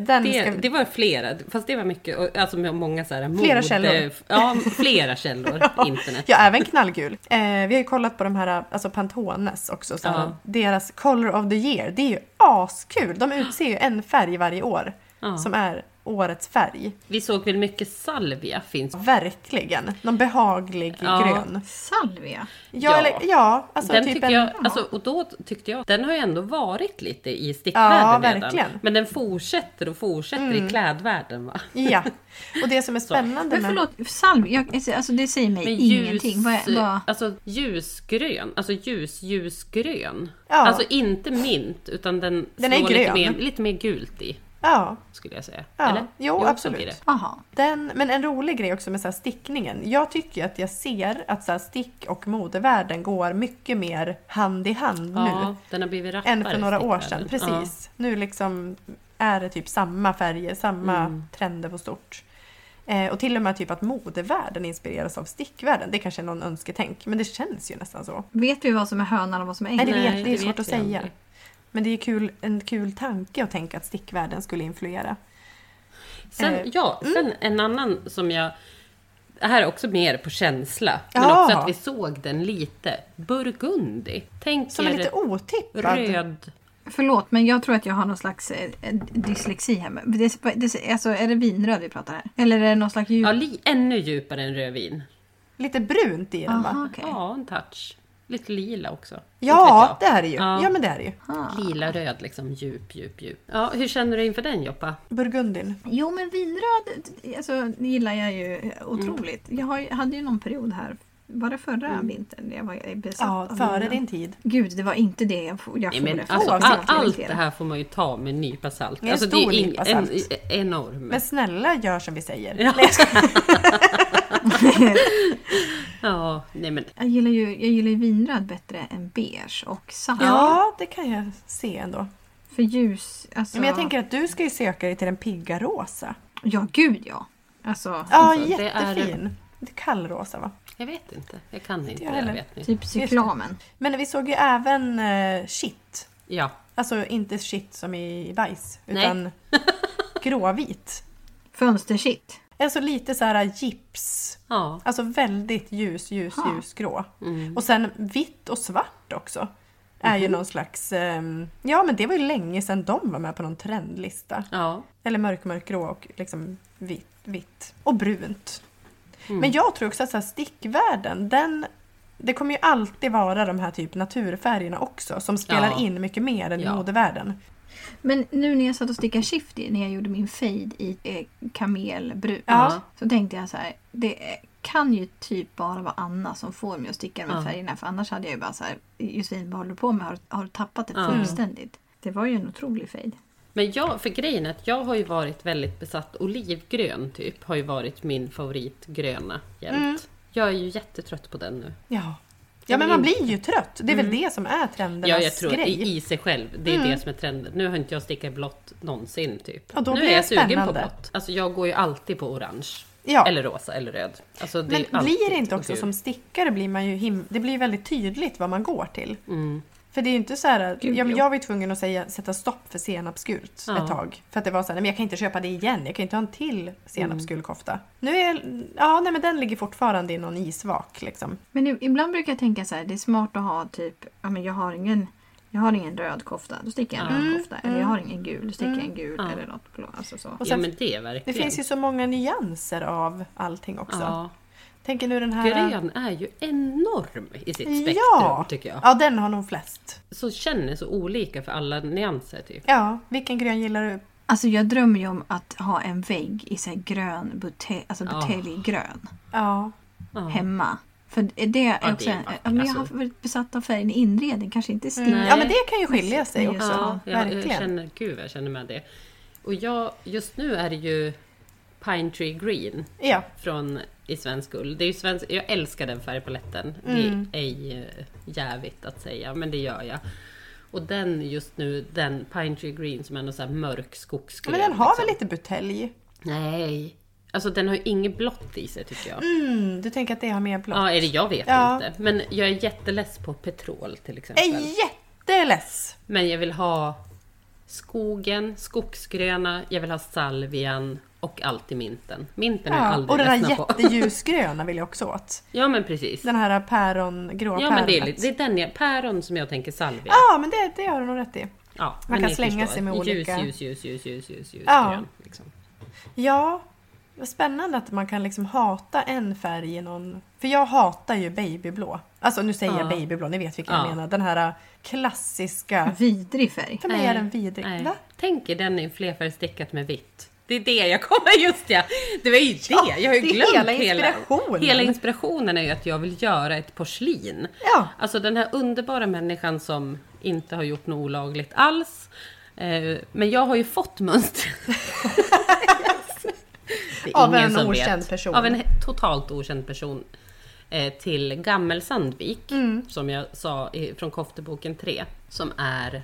Speaker 3: den
Speaker 2: Mm. det,
Speaker 3: ska...
Speaker 2: det var flera, fast det var mycket, och- alltså med många så här
Speaker 3: Flera
Speaker 2: mode-
Speaker 3: källor.
Speaker 2: *laughs* Ja, flera källor. Internet.
Speaker 3: *laughs* Ja, även knallgul. Eh, vi har ju kollat på de här, alltså Pantones också. Så här,
Speaker 2: Ja.
Speaker 3: Deras Color of the Year, det är ju askul. De utser ju en färg varje år
Speaker 2: Ja.
Speaker 3: som är årets färg.
Speaker 2: Vi såg väl mycket salvia finns.
Speaker 3: Verkligen. Någon behaglig
Speaker 2: Ja.
Speaker 3: grön.
Speaker 1: Salvia.
Speaker 3: Ja,
Speaker 2: Ja.
Speaker 3: Eller, ja alltså
Speaker 2: den
Speaker 3: typ
Speaker 2: tycker
Speaker 3: en...
Speaker 2: jag, alltså, och då tyckte jag, den har ju ändå varit lite i
Speaker 3: Ja,
Speaker 2: stickvärlden redan.
Speaker 3: verkligen. Mm.
Speaker 2: Men den fortsätter och fortsätter i klädvärlden va?
Speaker 3: Ja. Och
Speaker 2: *laughs*
Speaker 3: det som är spännande
Speaker 1: Men förlåt, salvia, jag- alltså det säger mig
Speaker 2: Men
Speaker 1: ingenting. Vad, är- vad,
Speaker 2: Alltså ljusgrön, alltså ljus ljusgrön.
Speaker 3: Ja.
Speaker 2: Alltså inte mint utan den,
Speaker 3: Den är
Speaker 2: slår lite
Speaker 3: grön.
Speaker 2: mer, lite mer gult i
Speaker 3: Ja,
Speaker 2: skulle jag säga.
Speaker 3: Ja.
Speaker 2: Eller?
Speaker 3: Jo,
Speaker 2: så
Speaker 3: absolut.
Speaker 2: blir det.
Speaker 1: aha.
Speaker 3: Den, men en rolig grej också med så här stickningen. Jag tycker ju att jag ser att så här stick och modevärlden går mycket mer hand i hand nu.
Speaker 2: Ja, den har blivit rappare.
Speaker 3: än för några år sedan.
Speaker 2: stickvärlden.
Speaker 3: Precis. Nu liksom är det typ samma färger, samma
Speaker 2: Mm.
Speaker 3: trender på stort. Eh, och till och med typ att modevärlden inspireras av stickvärlden. Det kanske är någon önsketänk, men det känns ju nästan så.
Speaker 1: Vet vi vad som är hönan och vad som är
Speaker 3: Nej,
Speaker 1: äggen?
Speaker 3: det
Speaker 2: Nej,
Speaker 3: vet, det är
Speaker 2: det
Speaker 3: svårt
Speaker 2: vet
Speaker 3: att
Speaker 2: jag
Speaker 3: säga.
Speaker 2: aldrig.
Speaker 3: Men det är kul, en kul tanke att tänka att stickvärlden skulle influera.
Speaker 2: Ja. Sen,
Speaker 3: Eh,
Speaker 2: ja, sen en annan som jag... Det här är också mer på känsla. Men
Speaker 3: Ja.
Speaker 2: också att vi såg den lite. Burgundi. Tänk
Speaker 3: Som är
Speaker 2: er
Speaker 3: lite otippad.
Speaker 2: röd...
Speaker 1: Förlåt, men jag tror att jag har någon slags eh, eh, dyslexi här. Men Det, det, alltså, är det vinröd vi pratar här? Eller är det någon slags djup...
Speaker 2: Ja, li, ännu djupare än
Speaker 3: Mm.
Speaker 2: rödvin.
Speaker 3: Lite brunt i den
Speaker 1: Aha,
Speaker 3: va?
Speaker 1: okej.
Speaker 2: Ja, en touch. Lite lila också.
Speaker 3: Ja, det
Speaker 2: Inte vet
Speaker 3: är det ju.
Speaker 2: Ja.
Speaker 3: Ja, men det är det ju.
Speaker 2: jag. Lila, röd, liksom djup, djup, djup. Ja, hur känner du inför den Joppa?
Speaker 3: Burgundin.
Speaker 1: Jo, men vinröd alltså, gillar jag ju otroligt.
Speaker 3: Mm.
Speaker 1: Jag har, ju- hade ju någon period här, var det förra vintern? Jag var besatt
Speaker 3: Ja,
Speaker 1: av
Speaker 3: före
Speaker 1: vinen?
Speaker 3: din tid.
Speaker 1: Gud, det var inte det jag, får- jag
Speaker 2: Nej,
Speaker 1: får
Speaker 2: men
Speaker 1: det för.
Speaker 2: alltså,
Speaker 3: få
Speaker 2: all,
Speaker 3: avsikt,
Speaker 2: allt det här får man ju ta med en nypa salt.
Speaker 3: Det är en
Speaker 2: Alltså,
Speaker 3: stor
Speaker 2: ing-
Speaker 3: nypa
Speaker 2: en,
Speaker 3: salt.
Speaker 2: en, enorm.
Speaker 3: Men snälla, gör som vi säger.
Speaker 2: Ja.
Speaker 3: Nej, jag skojar.
Speaker 2: ja, nej men
Speaker 1: Jag gillar ju jag gillar ju vinröd bättre än beige och salt.
Speaker 3: Ja, det kan jag se ändå.
Speaker 1: För ljus, alltså...
Speaker 3: Men jag tänker att du ska ju söka dig till den pigga rosa.
Speaker 1: Ja, gud ja! Alltså,
Speaker 3: Ja,
Speaker 2: Alltså, det är-
Speaker 3: jättefin. Det är kallrosa va?
Speaker 2: jag vet inte. Jag kan inte
Speaker 3: jag
Speaker 2: det,
Speaker 3: heller.
Speaker 2: vet ni.
Speaker 1: typ cyklamen.
Speaker 3: Men vi såg ju även eh, shit.
Speaker 2: Ja,
Speaker 3: Alltså inte shit som i bajs,
Speaker 2: Nej.
Speaker 3: utan gråvit.
Speaker 1: Fönstershit.
Speaker 3: Alltså lite så här gips.
Speaker 2: ja.
Speaker 3: Alltså väldigt ljus, ljus,
Speaker 1: Ha.
Speaker 3: ljusgrå.
Speaker 2: Mm.
Speaker 3: Och sen vitt och svart också. Är ju någon slags... ehm, ja, men det var ju länge sedan de var med på någon trendlista.
Speaker 2: Ja,
Speaker 3: Eller mörk, mörkgrå och liksom vitt.
Speaker 2: Mm.
Speaker 3: vitt. Och brunt. Men jag tror också att så här stickvärlden, den, det kommer ju alltid vara de här typ naturfärgerna också som spelar
Speaker 2: Ja.
Speaker 3: in mycket mer än
Speaker 2: Ja.
Speaker 3: i modevärlden.
Speaker 1: Men nu när jag satt och stickade shifty, när jag gjorde min fade i eh, kamelbrun,
Speaker 2: Ja.
Speaker 1: så tänkte jag så här, det kan ju typ bara vara Anna som får mig att sticka de här
Speaker 2: Ja.
Speaker 1: färgerna. För annars hade jag ju bara så här, Josefin vad håller du på med? Har, har du tappat det
Speaker 2: Ja.
Speaker 1: fullständigt? Det var ju en otrolig fade.
Speaker 2: Men jag, för grejen är att jag har ju varit väldigt besatt. Olivgrön typ har ju varit min favoritgröna jämt.
Speaker 3: Mm.
Speaker 2: Jag är ju jättetrött på den nu.
Speaker 3: Ja. Ja men man blir ju trött. Det är väl det som är trendernas
Speaker 2: Mm. Ja, jag tror att
Speaker 3: grej.
Speaker 2: i, i sig själv. Det är det som är trenden. Nu har inte jag stickat blått någonsin typ.
Speaker 3: Mm. Ja, då
Speaker 2: nu
Speaker 3: blir
Speaker 2: är jag
Speaker 3: det
Speaker 2: sugen på
Speaker 3: spännande.
Speaker 2: blått. Alltså jag går ju alltid på orange.
Speaker 3: Ja.
Speaker 2: Eller rosa eller röd. Alltså, det är
Speaker 3: Men
Speaker 2: ju alltid
Speaker 3: blir det inte också
Speaker 2: gul.
Speaker 3: som stickare blir man ju him- det blir ju väldigt tydligt vad man går till.
Speaker 2: Mm.
Speaker 3: För det är ju inte så här,
Speaker 1: Gud,
Speaker 3: jag,
Speaker 1: ja.
Speaker 3: jag var ju tvungen att säga, sätta stopp för senapsgult
Speaker 2: Ja. Mm.
Speaker 3: ett tag. För att det var så här, nej, men jag kan inte köpa det igen, jag kan inte ha en till senapsgul kofta. Nu är, ja nej men den ligger fortfarande i någon isvak liksom.
Speaker 1: Men i- ibland brukar jag tänka så här, det är smart att ha typ, ja men jag har ingen, jag har ingen röd kofta, då stickar jag en
Speaker 2: Mm.
Speaker 1: röd kofta. Eller jag har ingen gul, då stickar jag en gul.
Speaker 2: Ja.
Speaker 1: Eller något blå. Alltså så.
Speaker 3: Och
Speaker 2: Ja
Speaker 3: sen-
Speaker 2: men det är
Speaker 3: Det
Speaker 2: verkligen.
Speaker 3: finns ju så många nyanser av allting också.
Speaker 2: ja.
Speaker 3: Tänker nu den här...
Speaker 2: Grön är ju enorm i sitt spektrum
Speaker 3: Ja!
Speaker 2: tycker jag.
Speaker 3: Ja, den har nog flest.
Speaker 2: Så känner så olika för alla nyanser typ.
Speaker 3: Ja, vilken grön gillar du?
Speaker 1: Alltså jag drömmer ju om att ha en vägg i så här grön butelj, alltså
Speaker 2: Ja.
Speaker 1: buteljgrön.
Speaker 3: Ja.
Speaker 2: Ja.
Speaker 1: hemma. För det är
Speaker 2: det
Speaker 1: också
Speaker 2: är
Speaker 1: en,
Speaker 2: vackert,
Speaker 1: ja, men jag har
Speaker 2: alltså.
Speaker 1: varit besatt av färgen i inredning, kanske inte i stil.
Speaker 2: Nej.
Speaker 3: Mm, ja, men det kan ju skilja sig också.
Speaker 2: Ja, jag, jag
Speaker 3: verkligen.
Speaker 2: känner, gud vad jag känner med det. Och jag, just nu är det ju Pine Tree Green
Speaker 3: Ja.
Speaker 2: från i svensk ull. Det är ju svensk, jag älskar den färgpaletten.
Speaker 3: Mm.
Speaker 2: Det är ju jävigt att säga, men det gör jag. Och den just nu, den Pine Tree Green som är någon sån här mörk skogsgrön.
Speaker 3: Men den har
Speaker 2: liksom.
Speaker 3: väl lite butelj?
Speaker 2: Nej. Alltså den har ju inget blått i sig tycker jag.
Speaker 3: Mm, du tänker att det har mer blått?
Speaker 2: Ja, eller jag vet
Speaker 3: Ja.
Speaker 2: inte. Men jag är jätteless på petrol till exempel.
Speaker 3: Jag är jätteless!
Speaker 2: Men jag vill ha skogen, skogsgröna, jag vill ha salvian och alltid minten. Minten är jag
Speaker 3: Ja.
Speaker 2: aldrig
Speaker 3: Och den här
Speaker 2: ledsna på.
Speaker 3: jätteljusgröna vill jag också åt.
Speaker 2: Ja men precis.
Speaker 3: Den här päron, grå
Speaker 2: Ja men
Speaker 3: päronet.
Speaker 2: det är, lite- det är den jag, päron som jag tänker salvia.
Speaker 3: Ja, men det, det har du nog rätt i.
Speaker 2: Ja,
Speaker 3: Man
Speaker 2: men
Speaker 3: kan
Speaker 2: ni
Speaker 3: slänga
Speaker 2: förstår.
Speaker 3: sig med olika-
Speaker 2: Ljus, ljus, ljus, ljus, ljus, ljus,
Speaker 3: Ja.
Speaker 2: grön. Liksom.
Speaker 3: Ja, vad spännande att man kan liksom hata en färg i någon... För jag hatar ju babyblå. Alltså nu säger jag
Speaker 2: Ja.
Speaker 3: babyblå, ni vet vilken
Speaker 2: Ja.
Speaker 3: jag menar. Den här äh, klassiska...
Speaker 1: Vidrig färg.
Speaker 3: För mig är den vidrig.
Speaker 2: Nej.
Speaker 3: Va?
Speaker 2: Tänk er den i flerfärgstickat med vitt. Det är det jag kommer, *laughs* just ja! Det var ju det! jag har ju
Speaker 3: det är
Speaker 2: glömt
Speaker 3: hela inspirationen.
Speaker 2: Hela inspirationen är ju att jag vill göra ett porslin.
Speaker 3: Ja.
Speaker 2: Alltså den här underbara människan som inte har gjort något olagligt alls. Eh, Men jag har ju fått
Speaker 3: *laughs*
Speaker 2: mönstret. *laughs* Det är
Speaker 3: Av
Speaker 2: ingen
Speaker 3: en
Speaker 2: som vet.
Speaker 3: okänd person.
Speaker 2: Av en he- *laughs* totalt okänd person. eh, Till Gammelsandvik,
Speaker 3: Mm.
Speaker 2: som jag sa i, från Kofteboken 3. Som är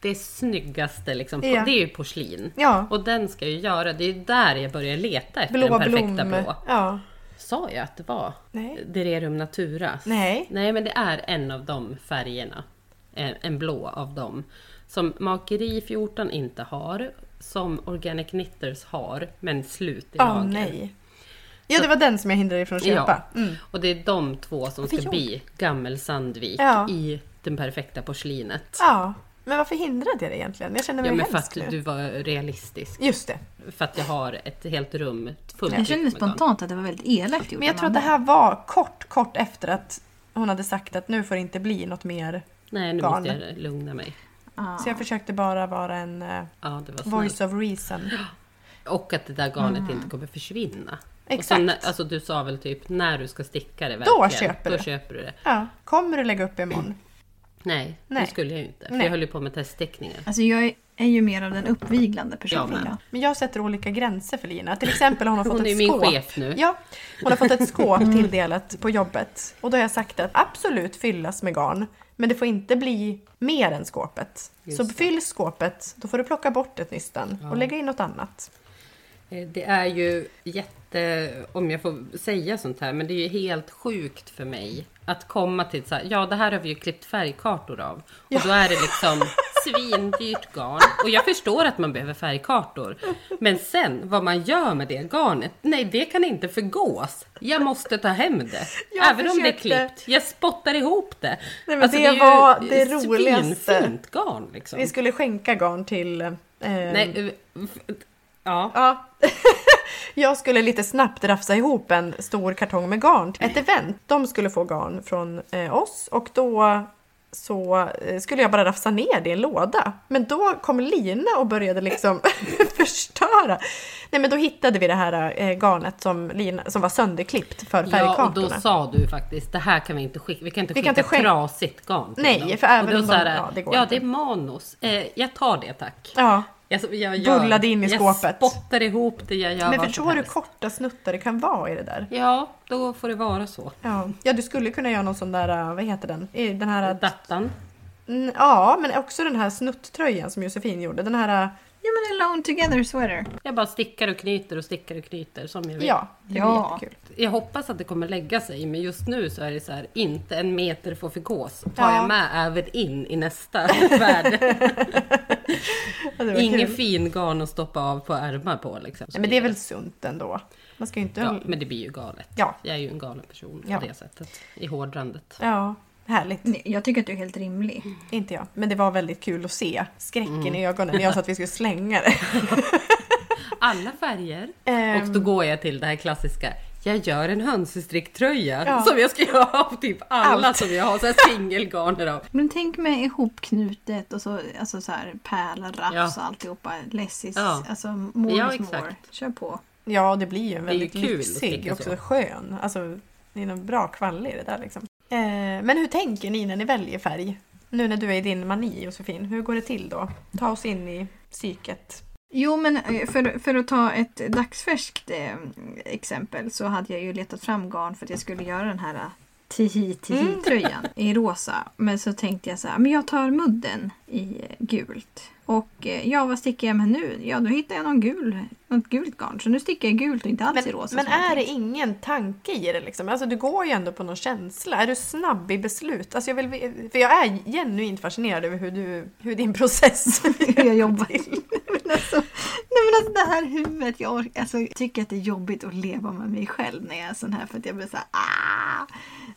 Speaker 2: det snyggaste, liksom.
Speaker 3: Ja.
Speaker 2: det är ju porslin.
Speaker 3: Ja.
Speaker 2: Och den ska jag ju göra, det är ju där jag börjar leta efter
Speaker 3: Blå
Speaker 2: den perfekta
Speaker 3: blommor.
Speaker 2: blå.
Speaker 3: Ja.
Speaker 2: Sa jag att det var
Speaker 3: Nej.
Speaker 2: Dererum Natura?
Speaker 3: Nej.
Speaker 2: Nej, men det är en av de färgerna. En, en blå av dem. Som Makeri 14 inte har. Som Organic Knitters har, men slut i
Speaker 3: Ja,
Speaker 2: lager.
Speaker 3: nej. Ja, det var den som jag hindrade dig från att köpa.
Speaker 2: Ja.
Speaker 3: Mm.
Speaker 2: Och det är de två som
Speaker 3: Varför
Speaker 2: ska
Speaker 3: jag?
Speaker 2: bli Gammel Sandvik
Speaker 3: Ja.
Speaker 2: i den perfekta porslinet.
Speaker 3: ja. Men varför hindrade jag dig egentligen? Jag känner mig
Speaker 2: Ja, men för
Speaker 3: hemsk
Speaker 2: att
Speaker 3: nu.
Speaker 2: du var realistisk.
Speaker 3: Just det.
Speaker 2: För att jag har ett helt rum fullt
Speaker 1: Jag kände
Speaker 2: med garn.
Speaker 1: spontant att det var väldigt elakt gjort
Speaker 3: Men jag
Speaker 1: av
Speaker 3: tror att det
Speaker 1: Amanda.
Speaker 3: här var kort, kort efter att hon hade sagt att nu får det inte bli något mer.
Speaker 2: Nej, nu
Speaker 3: garn.
Speaker 2: måste jag lugna mig.
Speaker 3: Så jag försökte bara vara en eh,
Speaker 2: Ja, det var snällt.
Speaker 3: voice of reason.
Speaker 2: Och att det där garnet inte kommer försvinna. Och
Speaker 3: Exakt.
Speaker 2: sen, när- alltså, du sa väl typ när du ska sticka det
Speaker 3: Då
Speaker 2: verkligen.
Speaker 3: köper
Speaker 2: Då
Speaker 3: du.
Speaker 2: köper du det.
Speaker 3: Ja. Kommer du lägga upp imorgon?
Speaker 2: Nej,
Speaker 3: Nej.
Speaker 2: det skulle jag ju inte. För
Speaker 3: Nej.
Speaker 2: jag höll ju på med teststickningen.
Speaker 1: Alltså jag är, är ju mer av den uppviglande personen.
Speaker 2: Jag med.
Speaker 1: då.
Speaker 3: Men jag sätter olika gränser för Lina. Till exempel hon har fått
Speaker 2: Hon är
Speaker 3: ett
Speaker 2: ju min
Speaker 3: skåp.
Speaker 2: chef nu.
Speaker 3: Ja, hon har fått ett skåp tilldelat på jobbet. Och då har jag sagt att absolut fyllas med garn. Men det får inte bli mer än skåpet. så
Speaker 2: Just det.
Speaker 3: fylls skåpet, då får du plocka bort ett nystan och lägga in något annat.
Speaker 2: Eh, Det är ju jätte, om jag får säga sånt här, men det är ju helt sjukt för mig att komma till så här, ja det här har vi ju klippt färgkartor av. Och då är det
Speaker 3: *laughs*
Speaker 2: liksom svindyrt garn. Och jag förstår att man behöver färgkartor. Men sen vad man gör med det garnet, nej det kan inte förgås. Jag måste ta hem det.
Speaker 3: Jag
Speaker 2: Även om det är
Speaker 3: försökte.
Speaker 2: klippt. Jag spottar ihop det.
Speaker 3: Nej, men det var det
Speaker 2: ju
Speaker 3: roligaste.
Speaker 2: Svinfint garn liksom.
Speaker 3: Vi skulle skänka garn till... Eh,
Speaker 2: Nej, eh, f- ja.
Speaker 3: Ja. *laughs* Jag skulle lite snabbt rafsa ihop en stor kartong med garn. Ett event. De skulle få garn från eh, oss och då så eh, skulle jag bara rafsa ner det i en låda. Men då kom Lina och började liksom *laughs* förstöra. Nej men då hittade vi det här eh, garnet som, Lina, som var sönderklippt för
Speaker 2: Ja, och
Speaker 3: färgkartorna.
Speaker 2: då sa du faktiskt det här kan vi inte skicka. Vi kan inte
Speaker 3: Vi kan
Speaker 2: skicka
Speaker 3: inte skicka-
Speaker 2: trasigt garn till
Speaker 3: Nej,
Speaker 2: dem."
Speaker 3: för även
Speaker 2: och då
Speaker 3: om
Speaker 2: sa
Speaker 3: de-
Speaker 2: jag,
Speaker 3: ja, det går
Speaker 2: Ja,
Speaker 3: inte."
Speaker 2: det är manos. Eh, jag tar det tack.
Speaker 3: Ja.
Speaker 2: Jag, jag gör-
Speaker 3: Bullade in i skåpet.
Speaker 2: Jag spottar ihop det, jag gör
Speaker 3: Men
Speaker 2: vad som
Speaker 3: förstår du hur
Speaker 2: helst.
Speaker 3: korta snuttar det kan vara i det där?
Speaker 2: Ja, då får det vara så.
Speaker 3: Ja. ja, du skulle kunna göra någon sån där, eh, vad heter den? I Den här,
Speaker 2: Dattan.
Speaker 3: mm, ja, men också den här snutttröjan som Josefin gjorde. Den här, eh,
Speaker 1: Ja men alone together sweater.
Speaker 2: Jag bara stickar och knyter och stickar och knyter som jag vill.
Speaker 3: ja, det blir
Speaker 1: Ja.
Speaker 3: jättekul.
Speaker 2: Jag hoppas att det kommer lägga sig, men just nu så är det så här, inte en meter får förgås. Tar
Speaker 3: Ja.
Speaker 2: jag med även in i
Speaker 3: *laughs*
Speaker 2: nästa värld.
Speaker 3: Ja, det var
Speaker 2: Ingen
Speaker 3: kul.
Speaker 2: fin garn att stoppa av på ärmar på liksom.
Speaker 3: Nej, men det är väl sunt ändå? Man ska ju inte...
Speaker 2: Ja,
Speaker 3: Ja,
Speaker 2: men det blir ju galet.
Speaker 3: Ja.
Speaker 2: Jag är ju en galen person
Speaker 3: Ja.
Speaker 2: på det sättet. I hårdrandet.
Speaker 3: härligt.
Speaker 1: Jag tycker att du är helt rimlig.
Speaker 3: Inte jag. Men det var väldigt kul att se skräcken
Speaker 2: Mm.
Speaker 3: i ögonen när jag sa att vi skulle slänga det. *laughs*
Speaker 2: Alla färger.
Speaker 3: Ehm.
Speaker 2: Och då går jag till det här klassiska. Jag gör en hönsestricktröja
Speaker 3: Ja.
Speaker 2: som jag ska göra av typ alla
Speaker 3: Allt.
Speaker 2: som jag har så här singelgarner av.
Speaker 1: Men tänk med ihopknutet och så, alltså så här pärla, raps
Speaker 2: Ja.
Speaker 1: och alltihopa. Lessis,
Speaker 2: Ja.
Speaker 1: alltså more
Speaker 2: Ja,
Speaker 1: is more.
Speaker 2: exakt.
Speaker 1: Kör på.
Speaker 3: Ja, det blir ju en
Speaker 2: Det är ju
Speaker 3: väldigt
Speaker 2: kul att
Speaker 3: lyxig
Speaker 2: sticka
Speaker 3: och också
Speaker 2: så.
Speaker 3: skön. Alltså, det är någon bra kvalle i det där liksom. Eh, men hur tänker ni när ni väljer färg? Nu när du är i din mani Josefin, hur går det till då? Ta oss in i psyket.
Speaker 1: Jo, men eh, för, för att ta ett dagsfärskt eh, exempel så hade jag ju letat fram garn för att jag skulle göra den här eh, tihi tihi tröjan
Speaker 3: Mm.
Speaker 1: i rosa. Men så tänkte jag så här, men jag tar mudden i eh, gult. Och eh, ja, vad sticker jag med nu? Ja, då hittar jag någon gul, något gult garn. Så nu sticker jag gult och inte alls i
Speaker 3: Men,
Speaker 1: rosa.
Speaker 3: men
Speaker 1: som jag
Speaker 3: är det
Speaker 1: tänkt.
Speaker 3: ingen tanke i det liksom? Alltså du går ju ändå på någon känsla. Är du snabb i beslut? Alltså jag vill, ve- för jag är genuint fascinerad över hur, du, hur din process... *laughs*
Speaker 1: hur jag jobbar. *laughs* men alltså, nej men alltså det här huvudet, jag orkar, alltså, jag tycker att det är jobbigt att leva med mig själv när jag är sån här för att jag blir så här, ah!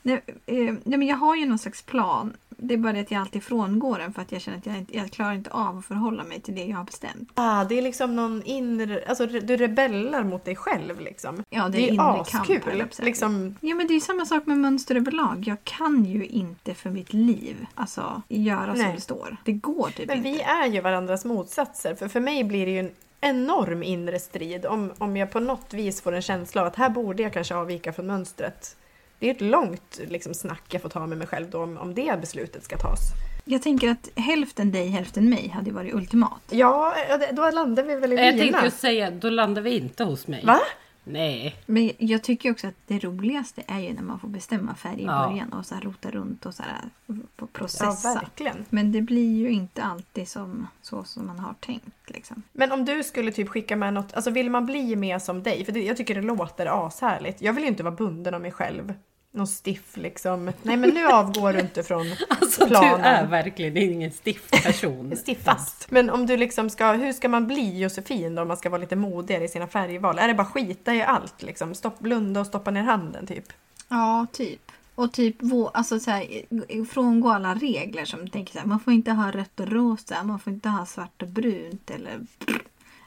Speaker 1: nej, eh, nej men jag har ju någon slags plan. Det är bara det att jag alltid frångår den för att jag känner att jag, inte, jag klarar inte av att förhålla mig till det jag har bestämt.
Speaker 3: ah, det är liksom någon inre... Alltså re- du rebellar mot dig själv liksom.
Speaker 1: Ja, det är
Speaker 3: det är
Speaker 1: inre kamp, höll jag
Speaker 3: askul.
Speaker 1: på att säga.
Speaker 3: Liksom,
Speaker 1: Ja men det är ju samma sak med mönster överlag. Jag kan ju inte för mitt liv alltså, göra som
Speaker 3: Nej.
Speaker 1: det står. Det går typ
Speaker 3: Men
Speaker 1: inte.
Speaker 3: vi är ju varandras motsatser. För, för mig blir det ju en enorm inre strid om, om jag på något vis får en känsla av att här borde jag kanske avvika från mönstret. Det är ett långt liksom, snack jag får ta med mig själv då om, om det beslutet ska tas.
Speaker 1: Jag tänker att hälften dig, hälften mig hade ju varit ultimat.
Speaker 3: Ja, ja, det- då landar vi väl i
Speaker 2: Jag
Speaker 3: Lina.
Speaker 2: tänkte ju säga, då landar vi inte hos mig.
Speaker 3: Va?
Speaker 2: Nej.
Speaker 1: Men jag tycker också att det roligaste är ju när man får bestämma färg i
Speaker 2: Ja.
Speaker 1: början och så här rota runt och så här få
Speaker 3: Ja,
Speaker 1: processa.
Speaker 3: verkligen.
Speaker 1: Men det blir ju inte alltid som, så som man har tänkt. Liksom.
Speaker 3: Men om du skulle typ skicka med något, alltså vill man bli mer som dig? För det, jag tycker det låter ashärligt. Jag vill ju inte vara bunden av mig själv. Någon stiff liksom. Nej men
Speaker 2: *laughs*
Speaker 3: nu avgår du inte från
Speaker 2: Alltså
Speaker 3: planen.
Speaker 2: du är verkligen ingen stiff
Speaker 3: *laughs*
Speaker 2: person.
Speaker 3: Stiffast. Men om du liksom ska, hur ska man bli Josefin då om man ska vara lite modigare i sina färgval? Är det bara skita i allt liksom? Stopp, blunda och stoppa ner handen typ?
Speaker 1: Ja, typ. Och typ vå- alltså så här, frångå alla regler som tänker så här, man får inte ha rött och rosa, man får inte ha svart och brunt eller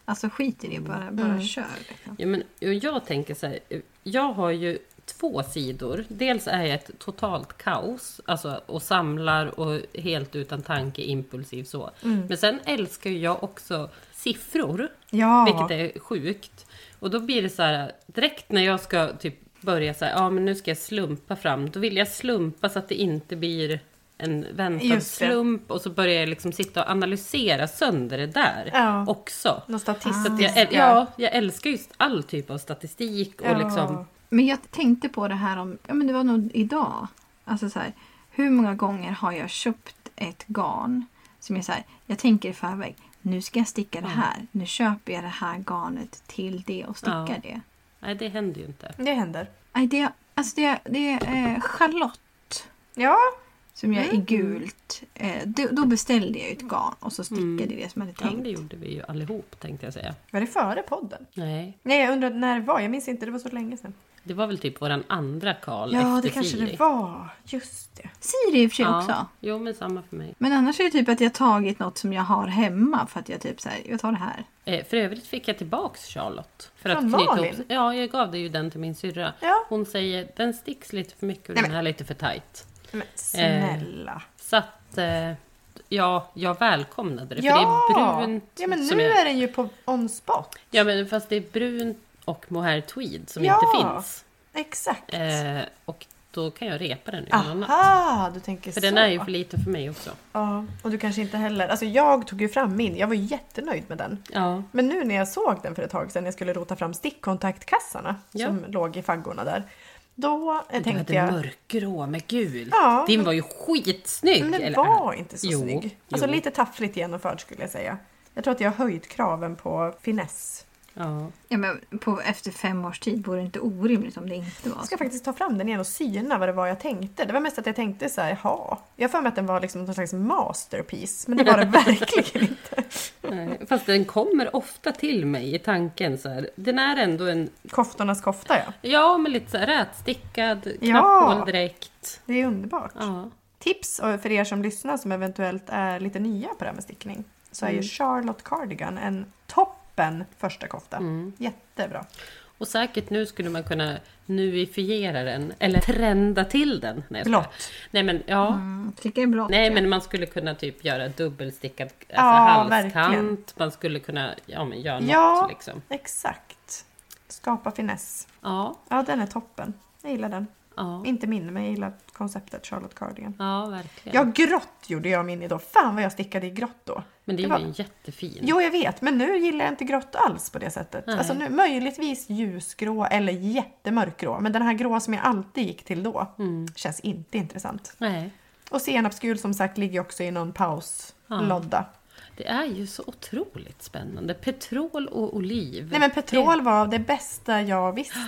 Speaker 1: Alltså skit i det, bara, bara kör. Liksom.
Speaker 2: Ja, men och jag tänker så här, jag har ju två sidor. Dels är jag ett totalt kaos alltså, och samlar och helt utan tanke, impulsiv så.
Speaker 3: Mm.
Speaker 2: Men sen älskar ju jag också siffror,
Speaker 3: Ja.
Speaker 2: vilket är sjukt. Och då blir det så här, direkt när jag ska typ börja så här, ja men nu ska jag slumpa fram, då vill jag slumpa så att det inte blir en väntad
Speaker 3: Just det.
Speaker 2: slump och så börjar jag liksom sitta och analysera sönder det där
Speaker 3: Ja.
Speaker 2: också.
Speaker 3: Någon
Speaker 2: Så att
Speaker 3: statistisk...
Speaker 2: jag, äl- Ah. ja, jag älskar just all typ av statistik och
Speaker 3: Ja.
Speaker 2: liksom...
Speaker 1: Men jag tänkte på det här om, ja men det var nog idag. Alltså så här, hur många gånger har jag köpt ett garn som är så här, jag tänker i förväg, nu ska jag sticka det här. Nu köper jag det här garnet till det och stickar
Speaker 2: Ja.
Speaker 1: det.
Speaker 2: Nej, det händer ju inte.
Speaker 3: Det händer.
Speaker 1: Nej, det, alltså det, det är eh, Charlotte
Speaker 3: Ja.
Speaker 1: som jag
Speaker 2: Mm.
Speaker 1: i gult. Eh, då, då beställde jag ju ett garn och så stickade jag det som jag hade
Speaker 2: Mm. Ja, men
Speaker 1: tänkt.
Speaker 2: det gjorde vi ju allihop, tänkte jag säga.
Speaker 3: Var det före podden?
Speaker 2: Nej.
Speaker 3: Nej, jag undrar när det var. Jag minns inte, det var så länge sedan.
Speaker 2: Det var väl typ våran andra Karl
Speaker 3: Ja,
Speaker 2: efter
Speaker 3: det kanske
Speaker 2: Siri.
Speaker 3: det var. Just det.
Speaker 1: Siri i och för sig
Speaker 2: Ja.
Speaker 1: också.
Speaker 2: Jo, men samma för mig.
Speaker 1: Men annars är det typ att jag tagit något som jag har hemma för att jag typ så här, jag tar det här.
Speaker 2: Eh, för övrigt fick jag tillbaks Charlotte. För
Speaker 3: Från Malin?
Speaker 2: Ja, jag gav det ju den till min syrra.
Speaker 3: Ja.
Speaker 2: Hon säger den sticks lite för mycket och
Speaker 3: Nej,
Speaker 2: den här lite för tajt.
Speaker 3: Men snälla.
Speaker 2: Så att eh, ja, jag välkomnade det.
Speaker 3: ja.
Speaker 2: För det är brunt.
Speaker 3: ja, men
Speaker 2: som
Speaker 3: nu
Speaker 2: jag-
Speaker 3: är den ju på on spot.
Speaker 2: Ja, men fast det är brunt och mohair tweed som
Speaker 3: Ja.
Speaker 2: inte finns.
Speaker 3: Exakt.
Speaker 2: Eh, och då kan jag repa den i någon annan.
Speaker 3: Aha, du tänker
Speaker 2: För
Speaker 3: Ah, så.
Speaker 2: den är ju för liten för mig också.
Speaker 3: Ja, och du kanske inte heller... Alltså jag tog ju fram min, jag var ju jättenöjd med den.
Speaker 2: Ja.
Speaker 3: Men nu när jag såg den för ett tag sedan, jag skulle rota fram stickkontaktkassarna
Speaker 2: Ja.
Speaker 3: som låg i faggorna där. Då eh,
Speaker 2: Du
Speaker 3: tänkte
Speaker 2: hade
Speaker 3: jag...
Speaker 2: mörkgrå med gul.
Speaker 3: Ja,
Speaker 2: Din
Speaker 3: men-
Speaker 2: var ju skitsnygg!
Speaker 3: Men den
Speaker 2: eller-
Speaker 3: var inte så
Speaker 2: Jo,
Speaker 3: snygg. Alltså
Speaker 2: jo.
Speaker 3: lite taffligt genomförd skulle jag säga. Jag tror att jag har höjt kraven på finess.
Speaker 2: Ja.
Speaker 1: Ja, men på, efter fem års tid vore det inte orimligt om det inte var
Speaker 3: Jag
Speaker 1: så.
Speaker 3: ska faktiskt ta fram den igen och syna vad det var jag tänkte. Det var mest att jag tänkte så här, ja. Jag har för mig att den var liksom någon slags masterpiece, men det
Speaker 2: *laughs*
Speaker 3: var det verkligen inte.
Speaker 2: Nej, Fast den kommer ofta till mig i tanken så här. Den är ändå en,
Speaker 3: Koftornas kofta ja.
Speaker 2: ja men lite så här rätstickad,
Speaker 3: Ja.
Speaker 2: knapphåldräkt.
Speaker 3: Det är underbart.
Speaker 2: Ja.
Speaker 3: Tips och för er som lyssnar som eventuellt är lite nya på det här med stickning. Så är ju
Speaker 2: Mm.
Speaker 3: Charlotte Cardigan en toppen första kofta.
Speaker 2: Mm.
Speaker 3: Jättebra.
Speaker 2: Och säkert nu skulle man kunna nuifiera den, eller trenda till den. Nej, jag skojar.
Speaker 3: Blått.
Speaker 2: Nej men ja.
Speaker 1: Mm, Sticka är bra.
Speaker 2: Nej men man skulle kunna typ göra dubbelstickad alltså
Speaker 3: Ja,
Speaker 2: halskant.
Speaker 3: verkligen.
Speaker 2: Man skulle kunna ja, men göra något
Speaker 3: Ja,
Speaker 2: liksom.
Speaker 3: exakt. Skapa finess.
Speaker 2: Ja,
Speaker 3: Ja, den är toppen. Jag gillar den.
Speaker 2: ja,
Speaker 3: Inte min, men jag gillar konceptet Charlotte Cardigan.
Speaker 2: ja verkligen.
Speaker 3: Ja, grått gjorde jag min i då. Fan vad jag stickade i grått då.
Speaker 2: men det är
Speaker 3: det var-
Speaker 2: ju en jättefin.
Speaker 3: Jo, jag vet, men nu gillar jag inte grått alls på det sättet.
Speaker 2: Nej.
Speaker 3: Alltså nu, möjligtvis ljusgrå eller jättemörkgrå, men den här gråa som jag alltid gick till då
Speaker 2: Mm.
Speaker 3: känns inte intressant.
Speaker 2: Nej,
Speaker 3: Och senapsgul som sagt ligger också i någon pauslodda.
Speaker 2: det är ju så otroligt spännande. Petrol och oliv.
Speaker 3: Nej men petrol var det bästa jag visste.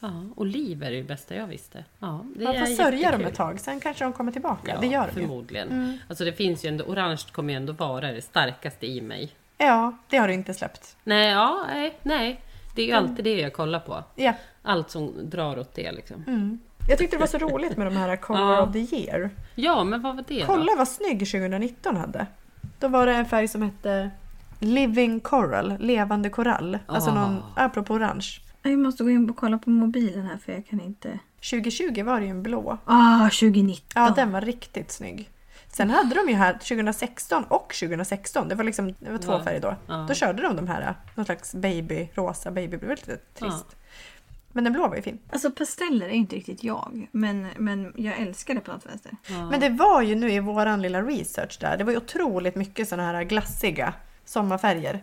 Speaker 2: Ja, oliv är det ju bästa jag visste. Ja, det
Speaker 3: Man
Speaker 2: är
Speaker 3: får sörja dem
Speaker 2: jättekul.
Speaker 3: ett tag, sen kanske de kommer tillbaka.
Speaker 2: Ja,
Speaker 3: det gör de ju. Mm.
Speaker 2: förmodligen. Alltså det finns ju ändå, orange kommer ju ändå vara det starkaste i mig.
Speaker 3: Ja, det har du inte släppt.
Speaker 2: Nej, ja, nej, nej. Det är ju alltid det jag kollar på.
Speaker 3: Ja.
Speaker 2: Allt som drar åt det
Speaker 3: Mm.
Speaker 2: liksom.
Speaker 3: Jag tyckte det var så roligt med de här Color
Speaker 2: Ja.
Speaker 3: of the year.
Speaker 2: Ja, men vad var det då?
Speaker 3: Kolla vad snygg 2019 hade. Då var det en färg som hette Living Coral, levande korall. Alltså
Speaker 2: Ah.
Speaker 3: någon, apropå orange.
Speaker 1: Jag måste gå in och kolla på mobilen här för jag kan inte...
Speaker 3: 2020 var det ju en blå.
Speaker 1: Ah, 2019!
Speaker 3: Ja, den var riktigt snygg. Sen hade de ju här 2016 och 2016, det var liksom det var två
Speaker 2: Ja.
Speaker 3: färger då.
Speaker 2: Ja.
Speaker 3: Då körde de de här, eh, någon slags baby, rosa baby, det var lite trist. Men den blå var ju fin.
Speaker 1: Alltså pasteller är inte riktigt jag, men, men jag älskar det på något vänster.
Speaker 2: Ja.
Speaker 3: Men det var ju nu i våran lilla research där, det var ju otroligt mycket sådana här glassiga sommarfärger.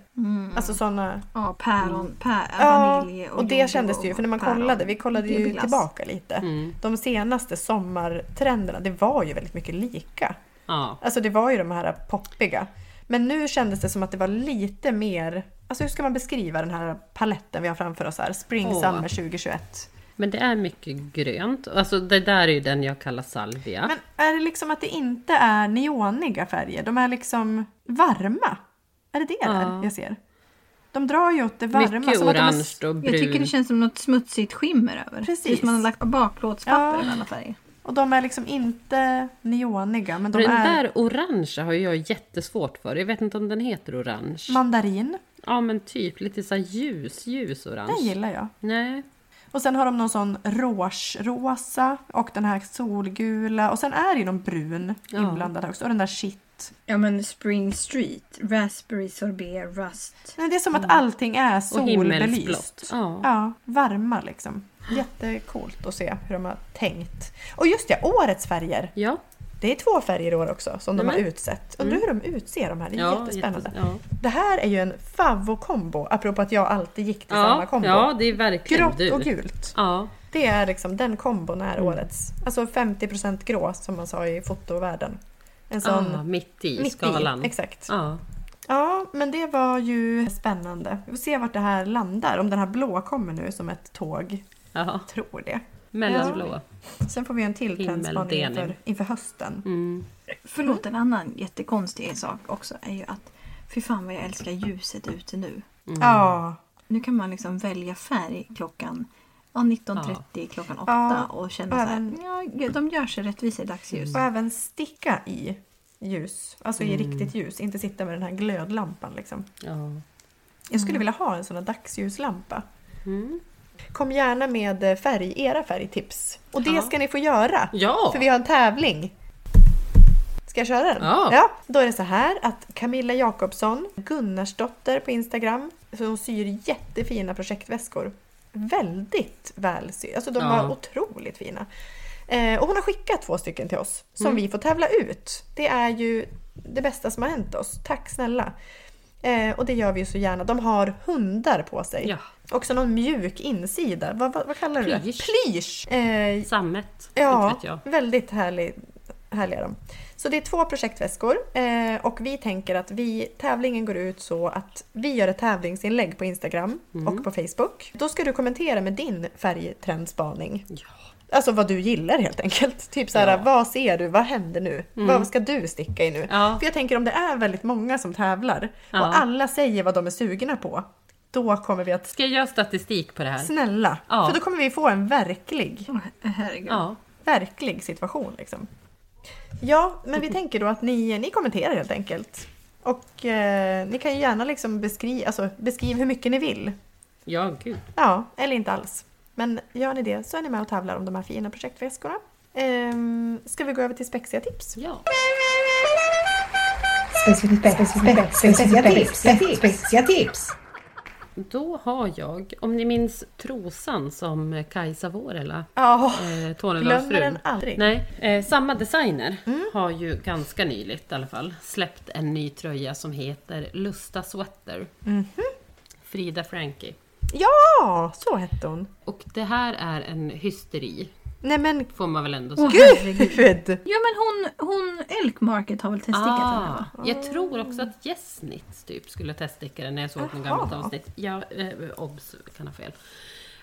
Speaker 3: Alltså sådana
Speaker 1: Ja, päron, pä,
Speaker 3: Mm. Ja,
Speaker 1: vanilj
Speaker 3: och, det kändes det ju, för när man
Speaker 1: päron.
Speaker 3: kollade, vi kollade
Speaker 1: Det är
Speaker 3: ju
Speaker 1: glass.
Speaker 3: tillbaka lite. De senaste sommartrenderna, det var ju väldigt mycket lika.
Speaker 2: Ja.
Speaker 3: Alltså det var ju de här poppiga. Men nu kändes det som att det var lite mer, alltså hur ska man beskriva den här paletten vi har framför oss här? Spring
Speaker 2: Åh.
Speaker 3: Summer 2021.
Speaker 2: Men det är mycket grönt. Alltså det där är ju den jag kallar salvia.
Speaker 3: *laughs* Men är det liksom att det inte är neoniga färger? De är liksom varma? Är det det där
Speaker 2: Ja.
Speaker 3: jag ser? De drar ju åt det varma.
Speaker 2: mycket
Speaker 3: som att de är-
Speaker 2: orange och brunt.
Speaker 1: Jag tycker det känns som något smutsigt skimmer över.
Speaker 3: Precis.
Speaker 1: Det är som man har lagt baklåtspapper
Speaker 3: Ja.
Speaker 1: av alla färger.
Speaker 3: Och de är liksom inte neoniga, men de
Speaker 2: Den
Speaker 3: är
Speaker 2: där orangea har jag jättesvårt för. Jag vet inte om den heter orange.
Speaker 3: mandarin.
Speaker 2: Ja men typ lite så här ljus, ljus orange.
Speaker 3: Den gillar jag.
Speaker 2: Nej.
Speaker 3: Och sen har de någon sån rosa och den här solgula och sen är det ju någon brun
Speaker 2: Ja.
Speaker 3: inblandad också och den där shit.
Speaker 1: Ja men Spring Street, Raspberry Sorbet, Rust.
Speaker 3: Nej, det är som att allting är
Speaker 2: Mm. Och himmelsblått.
Speaker 3: solbelyst.
Speaker 2: Ja.
Speaker 3: Ja, varma liksom. Jättecoolt att se hur de har tänkt. Och just det, årets färger.
Speaker 2: Ja.
Speaker 3: Det är två färger i år också som de
Speaker 2: Mm.
Speaker 3: har utsett. Undrar hur de utser de här, det är
Speaker 2: ja,
Speaker 3: jättespännande.
Speaker 2: jättes- Ja.
Speaker 3: Det här är ju en favvo-kombo, apropå att jag alltid gick till samma
Speaker 2: Ja,
Speaker 3: kombo.
Speaker 2: ja, det är verkligen
Speaker 3: Grått
Speaker 2: du.
Speaker 3: och gult.
Speaker 2: Ja.
Speaker 3: Det är liksom den kombon
Speaker 2: Mm.
Speaker 3: är årets. Alltså 50% grå som man sa i fotovärlden. En sån
Speaker 2: ah, mitt i
Speaker 3: Alltså, mitt
Speaker 2: skalan.
Speaker 3: i. Exakt. Ja.
Speaker 2: Ja.
Speaker 3: men det var ju spännande. Vi får se vart det här landar. Om den här blå kommer nu som ett tåg.
Speaker 2: ja.
Speaker 3: Tror det.
Speaker 2: Mellanblå.
Speaker 3: Sen får vi en till
Speaker 2: Himmel,
Speaker 3: trendspaning
Speaker 2: denim.
Speaker 3: inför, inför hösten.
Speaker 2: Mm.
Speaker 1: Förlåt, en annan jättekonstig sak också är ju att fy fan vad jag älskar ljuset ute nu.
Speaker 3: Ja,
Speaker 1: Nu kan man liksom välja färg klockan Ja, 19.30 klockan 8
Speaker 3: Ja,
Speaker 1: och känner
Speaker 3: och
Speaker 1: så här,
Speaker 3: även- Mm.
Speaker 1: ja, gud, de gör sig rättvisa i dagsljus.
Speaker 3: Och även sticka i ljus, alltså i
Speaker 2: Mm.
Speaker 3: riktigt ljus, inte sitta med den här glödlampan liksom.
Speaker 2: Ja.
Speaker 3: Jag skulle vilja ha en sån här dagsljuslampa.
Speaker 2: Mm.
Speaker 3: Kom gärna med eh, färg, era färgtips. Och det
Speaker 2: Ja.
Speaker 3: ska ni få göra!
Speaker 2: Ja.
Speaker 3: För vi har en tävling. Ska jag köra den?
Speaker 2: Ja.
Speaker 3: Då är det så här att Camilla Jakobsson, Gunnarsdotter på Instagram, så hon syr jättefina projektväskor. Väldigt väl sy. Alltså de
Speaker 2: Ja.
Speaker 3: var otroligt fina. Eh, och hon har skickat två stycken till oss som
Speaker 2: Mm.
Speaker 3: vi får tävla ut. Det är ju det bästa som har hänt oss. Tack snälla! Eh, och det gör vi ju så gärna. De har hundar på sig.
Speaker 2: Ja.
Speaker 3: Också någon mjuk insida. Vad, vad, vad kallar du det?
Speaker 2: Plysch.
Speaker 3: Plysch! Eh,
Speaker 2: Sammet, inte
Speaker 3: Ja,
Speaker 2: vet jag.
Speaker 3: väldigt härlig, härliga de. Så det är två projektväskor eh, och vi tänker att vi, tävlingen går ut så att vi gör ett tävlingsinlägg på Instagram
Speaker 2: Mm.
Speaker 3: och på Facebook. Då ska du kommentera med din färgtrendspaning.
Speaker 2: Ja.
Speaker 3: Alltså vad du gillar helt enkelt. Typ såhär,
Speaker 2: Ja. Mm.
Speaker 3: vad ser du? Vad händer nu? Vad ska du sticka i nu?
Speaker 2: Ja.
Speaker 3: För jag tänker om det är väldigt många som tävlar
Speaker 2: Ja.
Speaker 3: och alla säger vad de är sugna på. Då kommer vi att,
Speaker 2: Ska jag göra statistik på det här?
Speaker 3: snälla!
Speaker 2: Ja.
Speaker 3: För då kommer vi få en verklig
Speaker 1: Åh, Herregud.
Speaker 2: Ja.
Speaker 3: verklig situation. Liksom. Ja, men vi tänker då att ni, ni kommenterar helt enkelt. Och eh, ni kan ju gärna liksom beskriva alltså, beskriv hur mycket ni vill.
Speaker 2: Ja, gud.
Speaker 3: Ja, eller inte alls. Men gör ni det så är ni med och tävlar om de här fina projektväskorna. Ehm, ska vi gå över till spexiga tips?
Speaker 2: Ja.
Speaker 4: Specifica tips. Specifica tips.
Speaker 2: Då har jag, om ni minns trosan som Kajsa Vuorela,
Speaker 3: Ja,
Speaker 2: eh,
Speaker 3: Mm, glömmer
Speaker 2: Tornedalsfrun,
Speaker 3: den aldrig. Mm.
Speaker 2: Nej, eh, samma designer har ju ganska nyligt i alla fall släppt en ny tröja som heter Lusta Sweater.
Speaker 3: Mhm.
Speaker 2: Frida Frankie.
Speaker 3: Ja, så hette hon.
Speaker 2: Och det här är en hysteri,
Speaker 3: Nej men
Speaker 2: får man väl ändå säga.
Speaker 1: Åh, herregud.
Speaker 3: gud!
Speaker 1: Ja men hon, hon Elkmarket har väl testat
Speaker 3: Ah.
Speaker 1: den här va?
Speaker 2: Ah. jag tror också att Jessnitz typ skulle teststicka den när jag såg något
Speaker 3: Jaha.
Speaker 2: gammalt avsnitt. Ja, eh, obs, kan ha fel.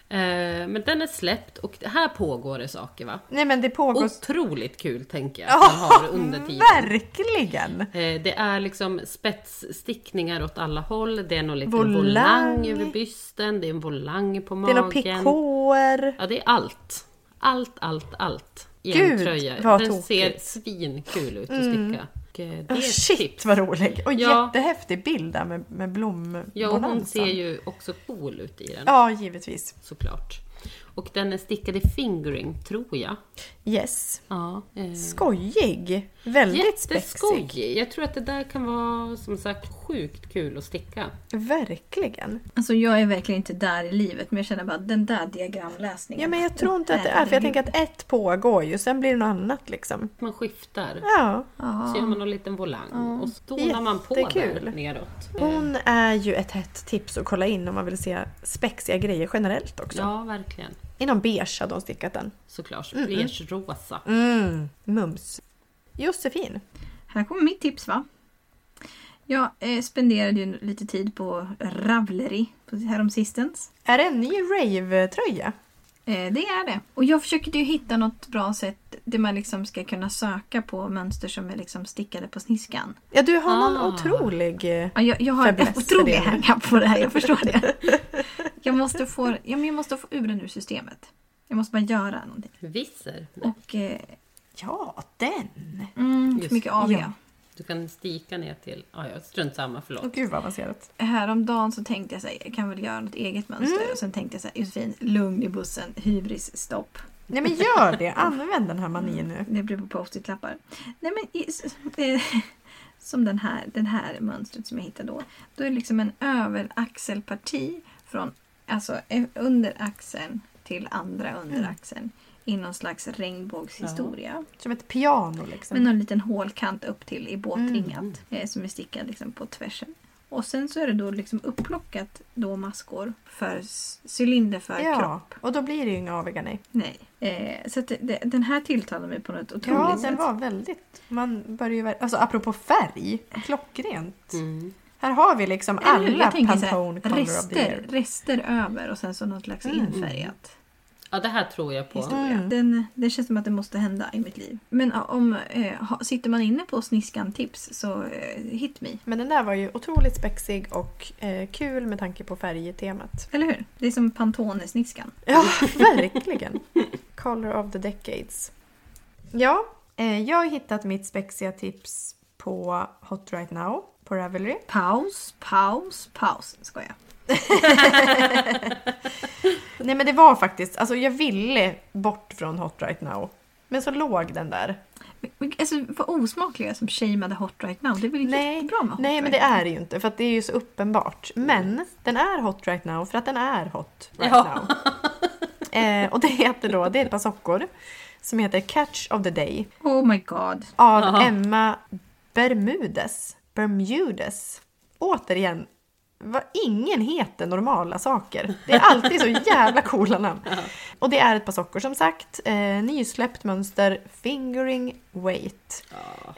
Speaker 2: Eh, men den är släppt och här pågår det saker va?
Speaker 3: Nej men det pågår...
Speaker 2: Otroligt kul tänker jag att man har
Speaker 3: Ja,
Speaker 2: under tiden.
Speaker 3: verkligen!
Speaker 2: Eh, Det är liksom spetsstickningar åt alla håll. Det är någon liten volang,
Speaker 3: Volang.
Speaker 2: över bysten, det är en volang på
Speaker 3: Det är
Speaker 2: magen.
Speaker 3: några pikåer.
Speaker 2: Ja, det är allt. Allt, allt, allt. I en
Speaker 3: Gud,
Speaker 2: tröja.
Speaker 3: vad
Speaker 2: Den
Speaker 3: tokigt. Mm.
Speaker 2: ser svinkul ut att sticka. Och, eh, Det
Speaker 3: Ja,
Speaker 2: är ett
Speaker 3: Ah, shit
Speaker 2: tips.
Speaker 3: vad rolig! Och
Speaker 2: Ja.
Speaker 3: jättehäftig bild där med, med blombonanzan.
Speaker 2: Ja, och hon ser ju också cool ut i den.
Speaker 3: Ja, givetvis.
Speaker 2: Såklart. Och den är stickad i fingering, tror jag.
Speaker 3: Yes.
Speaker 2: Ja. eh,
Speaker 3: Skojig! Väldigt spexig.
Speaker 2: Jätteskojig! Jag tror att det där kan vara som sagt sjukt kul att sticka.
Speaker 3: Verkligen.
Speaker 1: Alltså jag är verkligen inte där i livet men jag känner bara den där diagramläsningen.
Speaker 3: Ja, men jag tror inte att det är, för jag tänker att ett pågår ju, sen blir det något annat liksom.
Speaker 2: Man skiftar.
Speaker 3: Ja.
Speaker 2: Så gör man någon liten volang och så donar man på
Speaker 3: Jättekul.
Speaker 2: där neråt.
Speaker 3: Hon är ju ett hett tips att kolla in om man vill se spexiga grejer generellt också.
Speaker 2: Ja, verkligen.
Speaker 3: I någon beige hade hon stickat den.
Speaker 2: Såklart. Beige rosa.
Speaker 3: Mm, mums. Josefin.
Speaker 1: Här kommer mitt tips va? Jag eh, spenderade ju lite tid på Ravelry på- häromsistens.
Speaker 3: Är det en ny rave-tröja?
Speaker 1: Eh, det är det. Och jag försökte ju hitta något bra sätt där man liksom ska kunna söka på mönster som är liksom stickade på sniskan.
Speaker 3: Ja, du har någon
Speaker 2: Ah.
Speaker 3: otrolig... eh,
Speaker 1: Ja, jag, jag har en
Speaker 3: Fäbless för
Speaker 1: otrolig
Speaker 3: det.
Speaker 1: hang-up på det här, jag förstår
Speaker 3: *laughs*
Speaker 1: det. Jag måste få, ja, men jag måste få ur den ur systemet. Jag måste bara göra någonting.
Speaker 2: Visser.
Speaker 1: Och eh,
Speaker 3: Ja, den!
Speaker 1: mm,
Speaker 2: Just
Speaker 1: för mycket AW.
Speaker 3: Ja.
Speaker 2: Du kan stika ner till... Ah, ja, strunt samma, förlåt.
Speaker 3: Åh, gud vad avancerat.
Speaker 1: Häromdagen så tänkte jag så här, jag kan väl göra något eget mönster.
Speaker 3: Mm.
Speaker 1: Och sen tänkte jag så här, Josefin, lugn i bussen, hybris, stopp.
Speaker 3: Nej men gör det, använd den här manin nu.
Speaker 1: Det blir på post-it-lappar. Nej men i- s- eh, *laughs* som den här, den här mönstret som jag hittade då. Då är det liksom en överaxelparti från alltså eh, under axeln till andra under
Speaker 3: Mm.
Speaker 1: axeln i någon slags regnbågshistoria.
Speaker 3: Som ett piano liksom.
Speaker 1: Med någon liten hålkant upp till i båtringat
Speaker 3: Mm.
Speaker 1: eh, som är stickad liksom på tvärsen. Och sen så är det då liksom upplockat då maskor för s- cylinder för kropp.
Speaker 3: ja, och då blir det ju inga aviga nej.
Speaker 1: Nej. Eh, så att det, det, den här tilltalar mig på något otroligt
Speaker 3: Ja, den
Speaker 1: sätt.
Speaker 3: var väldigt... Man börjar ju... ver- Alltså apropå färg, klockrent.
Speaker 2: Mm.
Speaker 3: Här har vi liksom
Speaker 1: Eller hur?
Speaker 3: alla
Speaker 1: Jag tänker så här,
Speaker 3: Pantone Color of the
Speaker 1: rester,
Speaker 3: Year. Mm.
Speaker 1: rester över och sen så något slags infärgat.
Speaker 2: Ja, det här tror jag på.
Speaker 1: historia. Den, det känns som att det måste hända i mitt liv. Men ja, om, eh, ha, sitter man inne på sniskan-tips så eh, hit me.
Speaker 3: Men den där var ju otroligt spexig och eh, kul med tanke på färgtemat.
Speaker 1: Eller hur? Det är som Pantone-sniskan.
Speaker 3: Ja,
Speaker 1: *laughs*
Speaker 3: verkligen. Color of the decades. Ja, eh, jag har hittat mitt spexiga tips på Hot Right Now på Ravelry.
Speaker 1: Paus, paus, paus. Skojar.
Speaker 3: Nej men det var faktiskt, alltså jag ville bort från Hot Right Now. Men så låg den där.
Speaker 1: Men- men Alltså vad osmakliga som shameade Hot Right Now. Det är väl
Speaker 3: Nej,
Speaker 1: jättebra med Hot
Speaker 3: Nej
Speaker 1: right
Speaker 3: men det är det ju inte för att det är ju så uppenbart. Men den är hot right now för att den är hot right
Speaker 2: Ja.
Speaker 3: now. Eh, och det heter då, det är ett par sockor som heter Catch of the Day
Speaker 1: Now. Oh my god.
Speaker 3: av
Speaker 2: Jaha.
Speaker 3: Emma Bermudes. Bermudes. Återigen, vad ingen heter normala saker. Det är
Speaker 2: *laughs*
Speaker 3: alltid så jävla coola namn. Och det är ett par sockor som sagt. Eh, nysläppt mönster, fingering weight.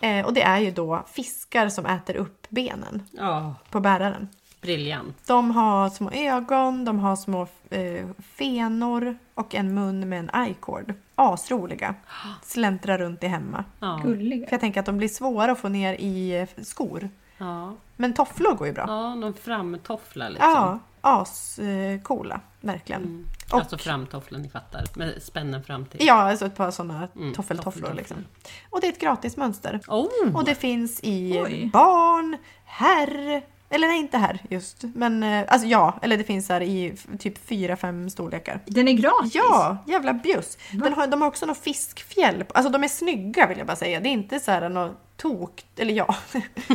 Speaker 2: Ja.
Speaker 3: Eh, och det är ju då fiskar som äter upp benen
Speaker 2: Ja,
Speaker 3: på bäraren.
Speaker 2: briljant.
Speaker 3: De har små ögon, de har små eh, fenor och en mun med en eye-cord.
Speaker 2: *gasps*
Speaker 3: Asroliga. Släntrar runt i hemma.
Speaker 2: Ja.
Speaker 3: För
Speaker 1: Gulliga.
Speaker 3: jag tänker att de blir svåra att få ner i eh, skor.
Speaker 2: Ja.
Speaker 3: Men tofflor går ju bra.
Speaker 2: ja, de framtofflar liksom.
Speaker 3: Ja, ascoola. Verkligen. Och-
Speaker 2: Alltså framtofflan, ni fattar. Med spännen fram till.
Speaker 3: Ja, alltså ett par sådana
Speaker 2: Mm,
Speaker 3: toffeltofflor
Speaker 2: toffeltofflor.
Speaker 3: liksom. Och det är ett gratis mönster.
Speaker 2: Oh!
Speaker 3: Och det finns i
Speaker 1: Oj.
Speaker 3: barn, herr, eller nej inte herr just, men eh, alltså ja, eller det finns här i f- typ fyra fem storlekar.
Speaker 1: Den är gratis!
Speaker 3: Ja, jävla bjuss!
Speaker 1: Va?
Speaker 3: Den har, de har också någon fiskfjäll, på- alltså de är snygga vill jag bara säga, det är inte så här något tok, eller ja. *laughs*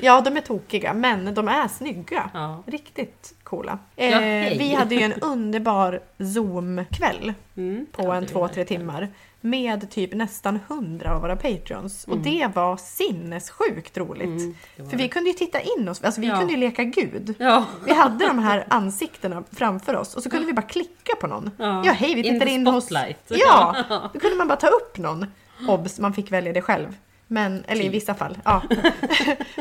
Speaker 3: ja, de är tokiga, men de är snygga.
Speaker 2: Ja.
Speaker 3: Riktigt coola.
Speaker 2: Ja,
Speaker 3: Eh,
Speaker 2: hej.
Speaker 3: vi hade ju en underbar Zoom-kväll
Speaker 2: Mm,
Speaker 3: på
Speaker 2: det hade
Speaker 3: en
Speaker 2: vi
Speaker 3: två, tre
Speaker 2: verkligen.
Speaker 3: timmar med typ nästan hundra av våra patreons. Och det var sinnessjukt roligt.
Speaker 2: Mm, det var
Speaker 3: För
Speaker 2: det.
Speaker 3: vi kunde ju titta in oss, alltså vi
Speaker 2: Ja.
Speaker 3: kunde ju leka gud.
Speaker 2: Ja.
Speaker 3: Vi hade de här ansiktena framför oss och så kunde vi bara klicka på någon. Ja,
Speaker 2: Ja.
Speaker 3: hej, vi
Speaker 2: In
Speaker 3: tittar
Speaker 2: the
Speaker 3: in hos...
Speaker 2: spotlight.
Speaker 3: Ja, då kunde man bara ta upp någon. Obs, man fick välja det själv. Men, eller i
Speaker 2: Typ.
Speaker 3: vissa fall. Ja. *laughs*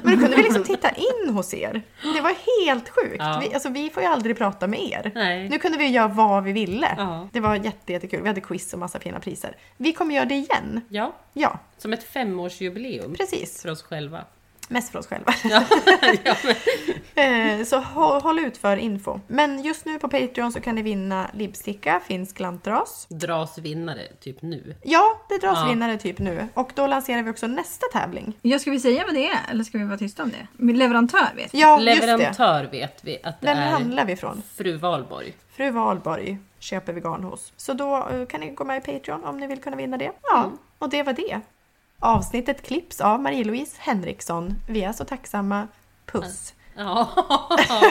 Speaker 3: Men då kunde vi liksom titta in hos er. Det var helt sjukt.
Speaker 2: Ja.
Speaker 3: Vi, alltså, vi får ju aldrig prata med er.
Speaker 2: Nej.
Speaker 3: Nu kunde vi göra vad vi ville.
Speaker 2: Ja.
Speaker 3: Det var jätte, jättekul. Vi hade quiz och massa fina priser. Vi kommer göra det igen.
Speaker 2: ja,
Speaker 3: Ja,
Speaker 2: som ett femårsjubileum
Speaker 3: precis.
Speaker 2: för oss själva.
Speaker 3: Mest för oss själva.
Speaker 2: *laughs* Ja, ja, men,
Speaker 3: Eh, Så hå- håll ut för info. Men just nu på Patreon så kan ni vinna libbsticka, finsk lantras.
Speaker 2: dras vinnare typ nu.
Speaker 3: Ja, det dras
Speaker 2: Ja.
Speaker 3: vinnare typ nu. Och då lanserar vi också nästa tävling.
Speaker 1: Jag ska vi säga vad det är eller ska vi vara tysta om det? Min leverantör vet.
Speaker 3: Ja, just det.
Speaker 2: Leverantör vet vi att det
Speaker 3: Vem
Speaker 2: är
Speaker 3: handlar vi ifrån?
Speaker 2: fru Valborg.
Speaker 3: Fru Valborg köper vegan hos. Så då eh, kan ni gå med i Patreon om ni vill kunna vinna det. Ja,
Speaker 2: Mm.
Speaker 3: och det var det. Avsnittet klipps av Marie-Louise Henriksson. Vi är så tacksamma. Puss!
Speaker 2: Ja,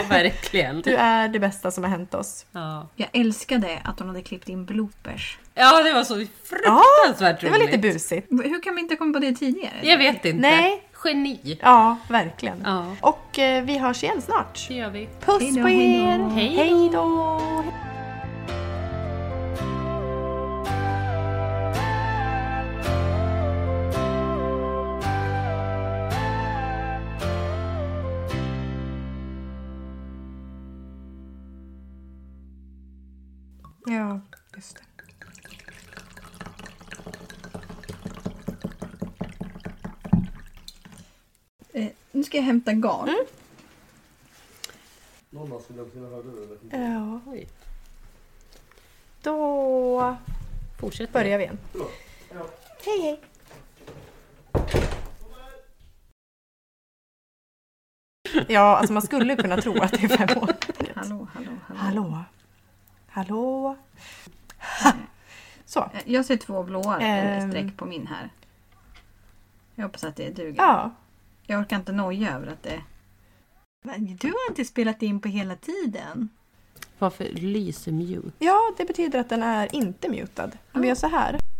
Speaker 2: *laughs* verkligen.
Speaker 3: Du är det bästa som har hänt oss.
Speaker 2: Ja.
Speaker 1: Jag älskade att hon hade klippt in bloopers.
Speaker 2: ja, det var så
Speaker 3: Ja,
Speaker 2: fruktansvärt
Speaker 3: det
Speaker 2: roligt.
Speaker 3: var lite busigt.
Speaker 1: Hur kan vi inte komma på det tidigare?
Speaker 2: Jag vet inte.
Speaker 3: Nej.
Speaker 2: Geni.
Speaker 3: Ja, verkligen.
Speaker 2: Ja,
Speaker 3: Och eh, vi hörs igen snart.
Speaker 2: det gör vi.
Speaker 3: Puss
Speaker 1: Hej då,
Speaker 3: på
Speaker 1: hej då.
Speaker 3: er!
Speaker 2: Hej då.
Speaker 3: Hej då! Ja, just det.
Speaker 1: Eh, nu ska jag hämta garn.
Speaker 5: Någon av oss vill ha sina hörlurar.
Speaker 3: Ja,
Speaker 2: Oj,
Speaker 3: då
Speaker 2: fortsätt.
Speaker 3: börjar vi igen.
Speaker 5: Bra. Ja.
Speaker 3: Hej, hej! Ja, alltså man skulle kunna tro att det är fem år.
Speaker 1: Hallå, hallå, hallå.
Speaker 3: Hallå? Hallå? Så,
Speaker 1: Eh, Jag ser två blåa
Speaker 3: Ehm.
Speaker 1: um... streck på min här. Jag hoppas att det duger.
Speaker 3: ja.
Speaker 1: Jag orkar inte noja över att det... Men du har inte spelat in på hela tiden.
Speaker 2: Varför lyser mute?
Speaker 3: Ja, det betyder att den är inte mutad. Om vi gör så här.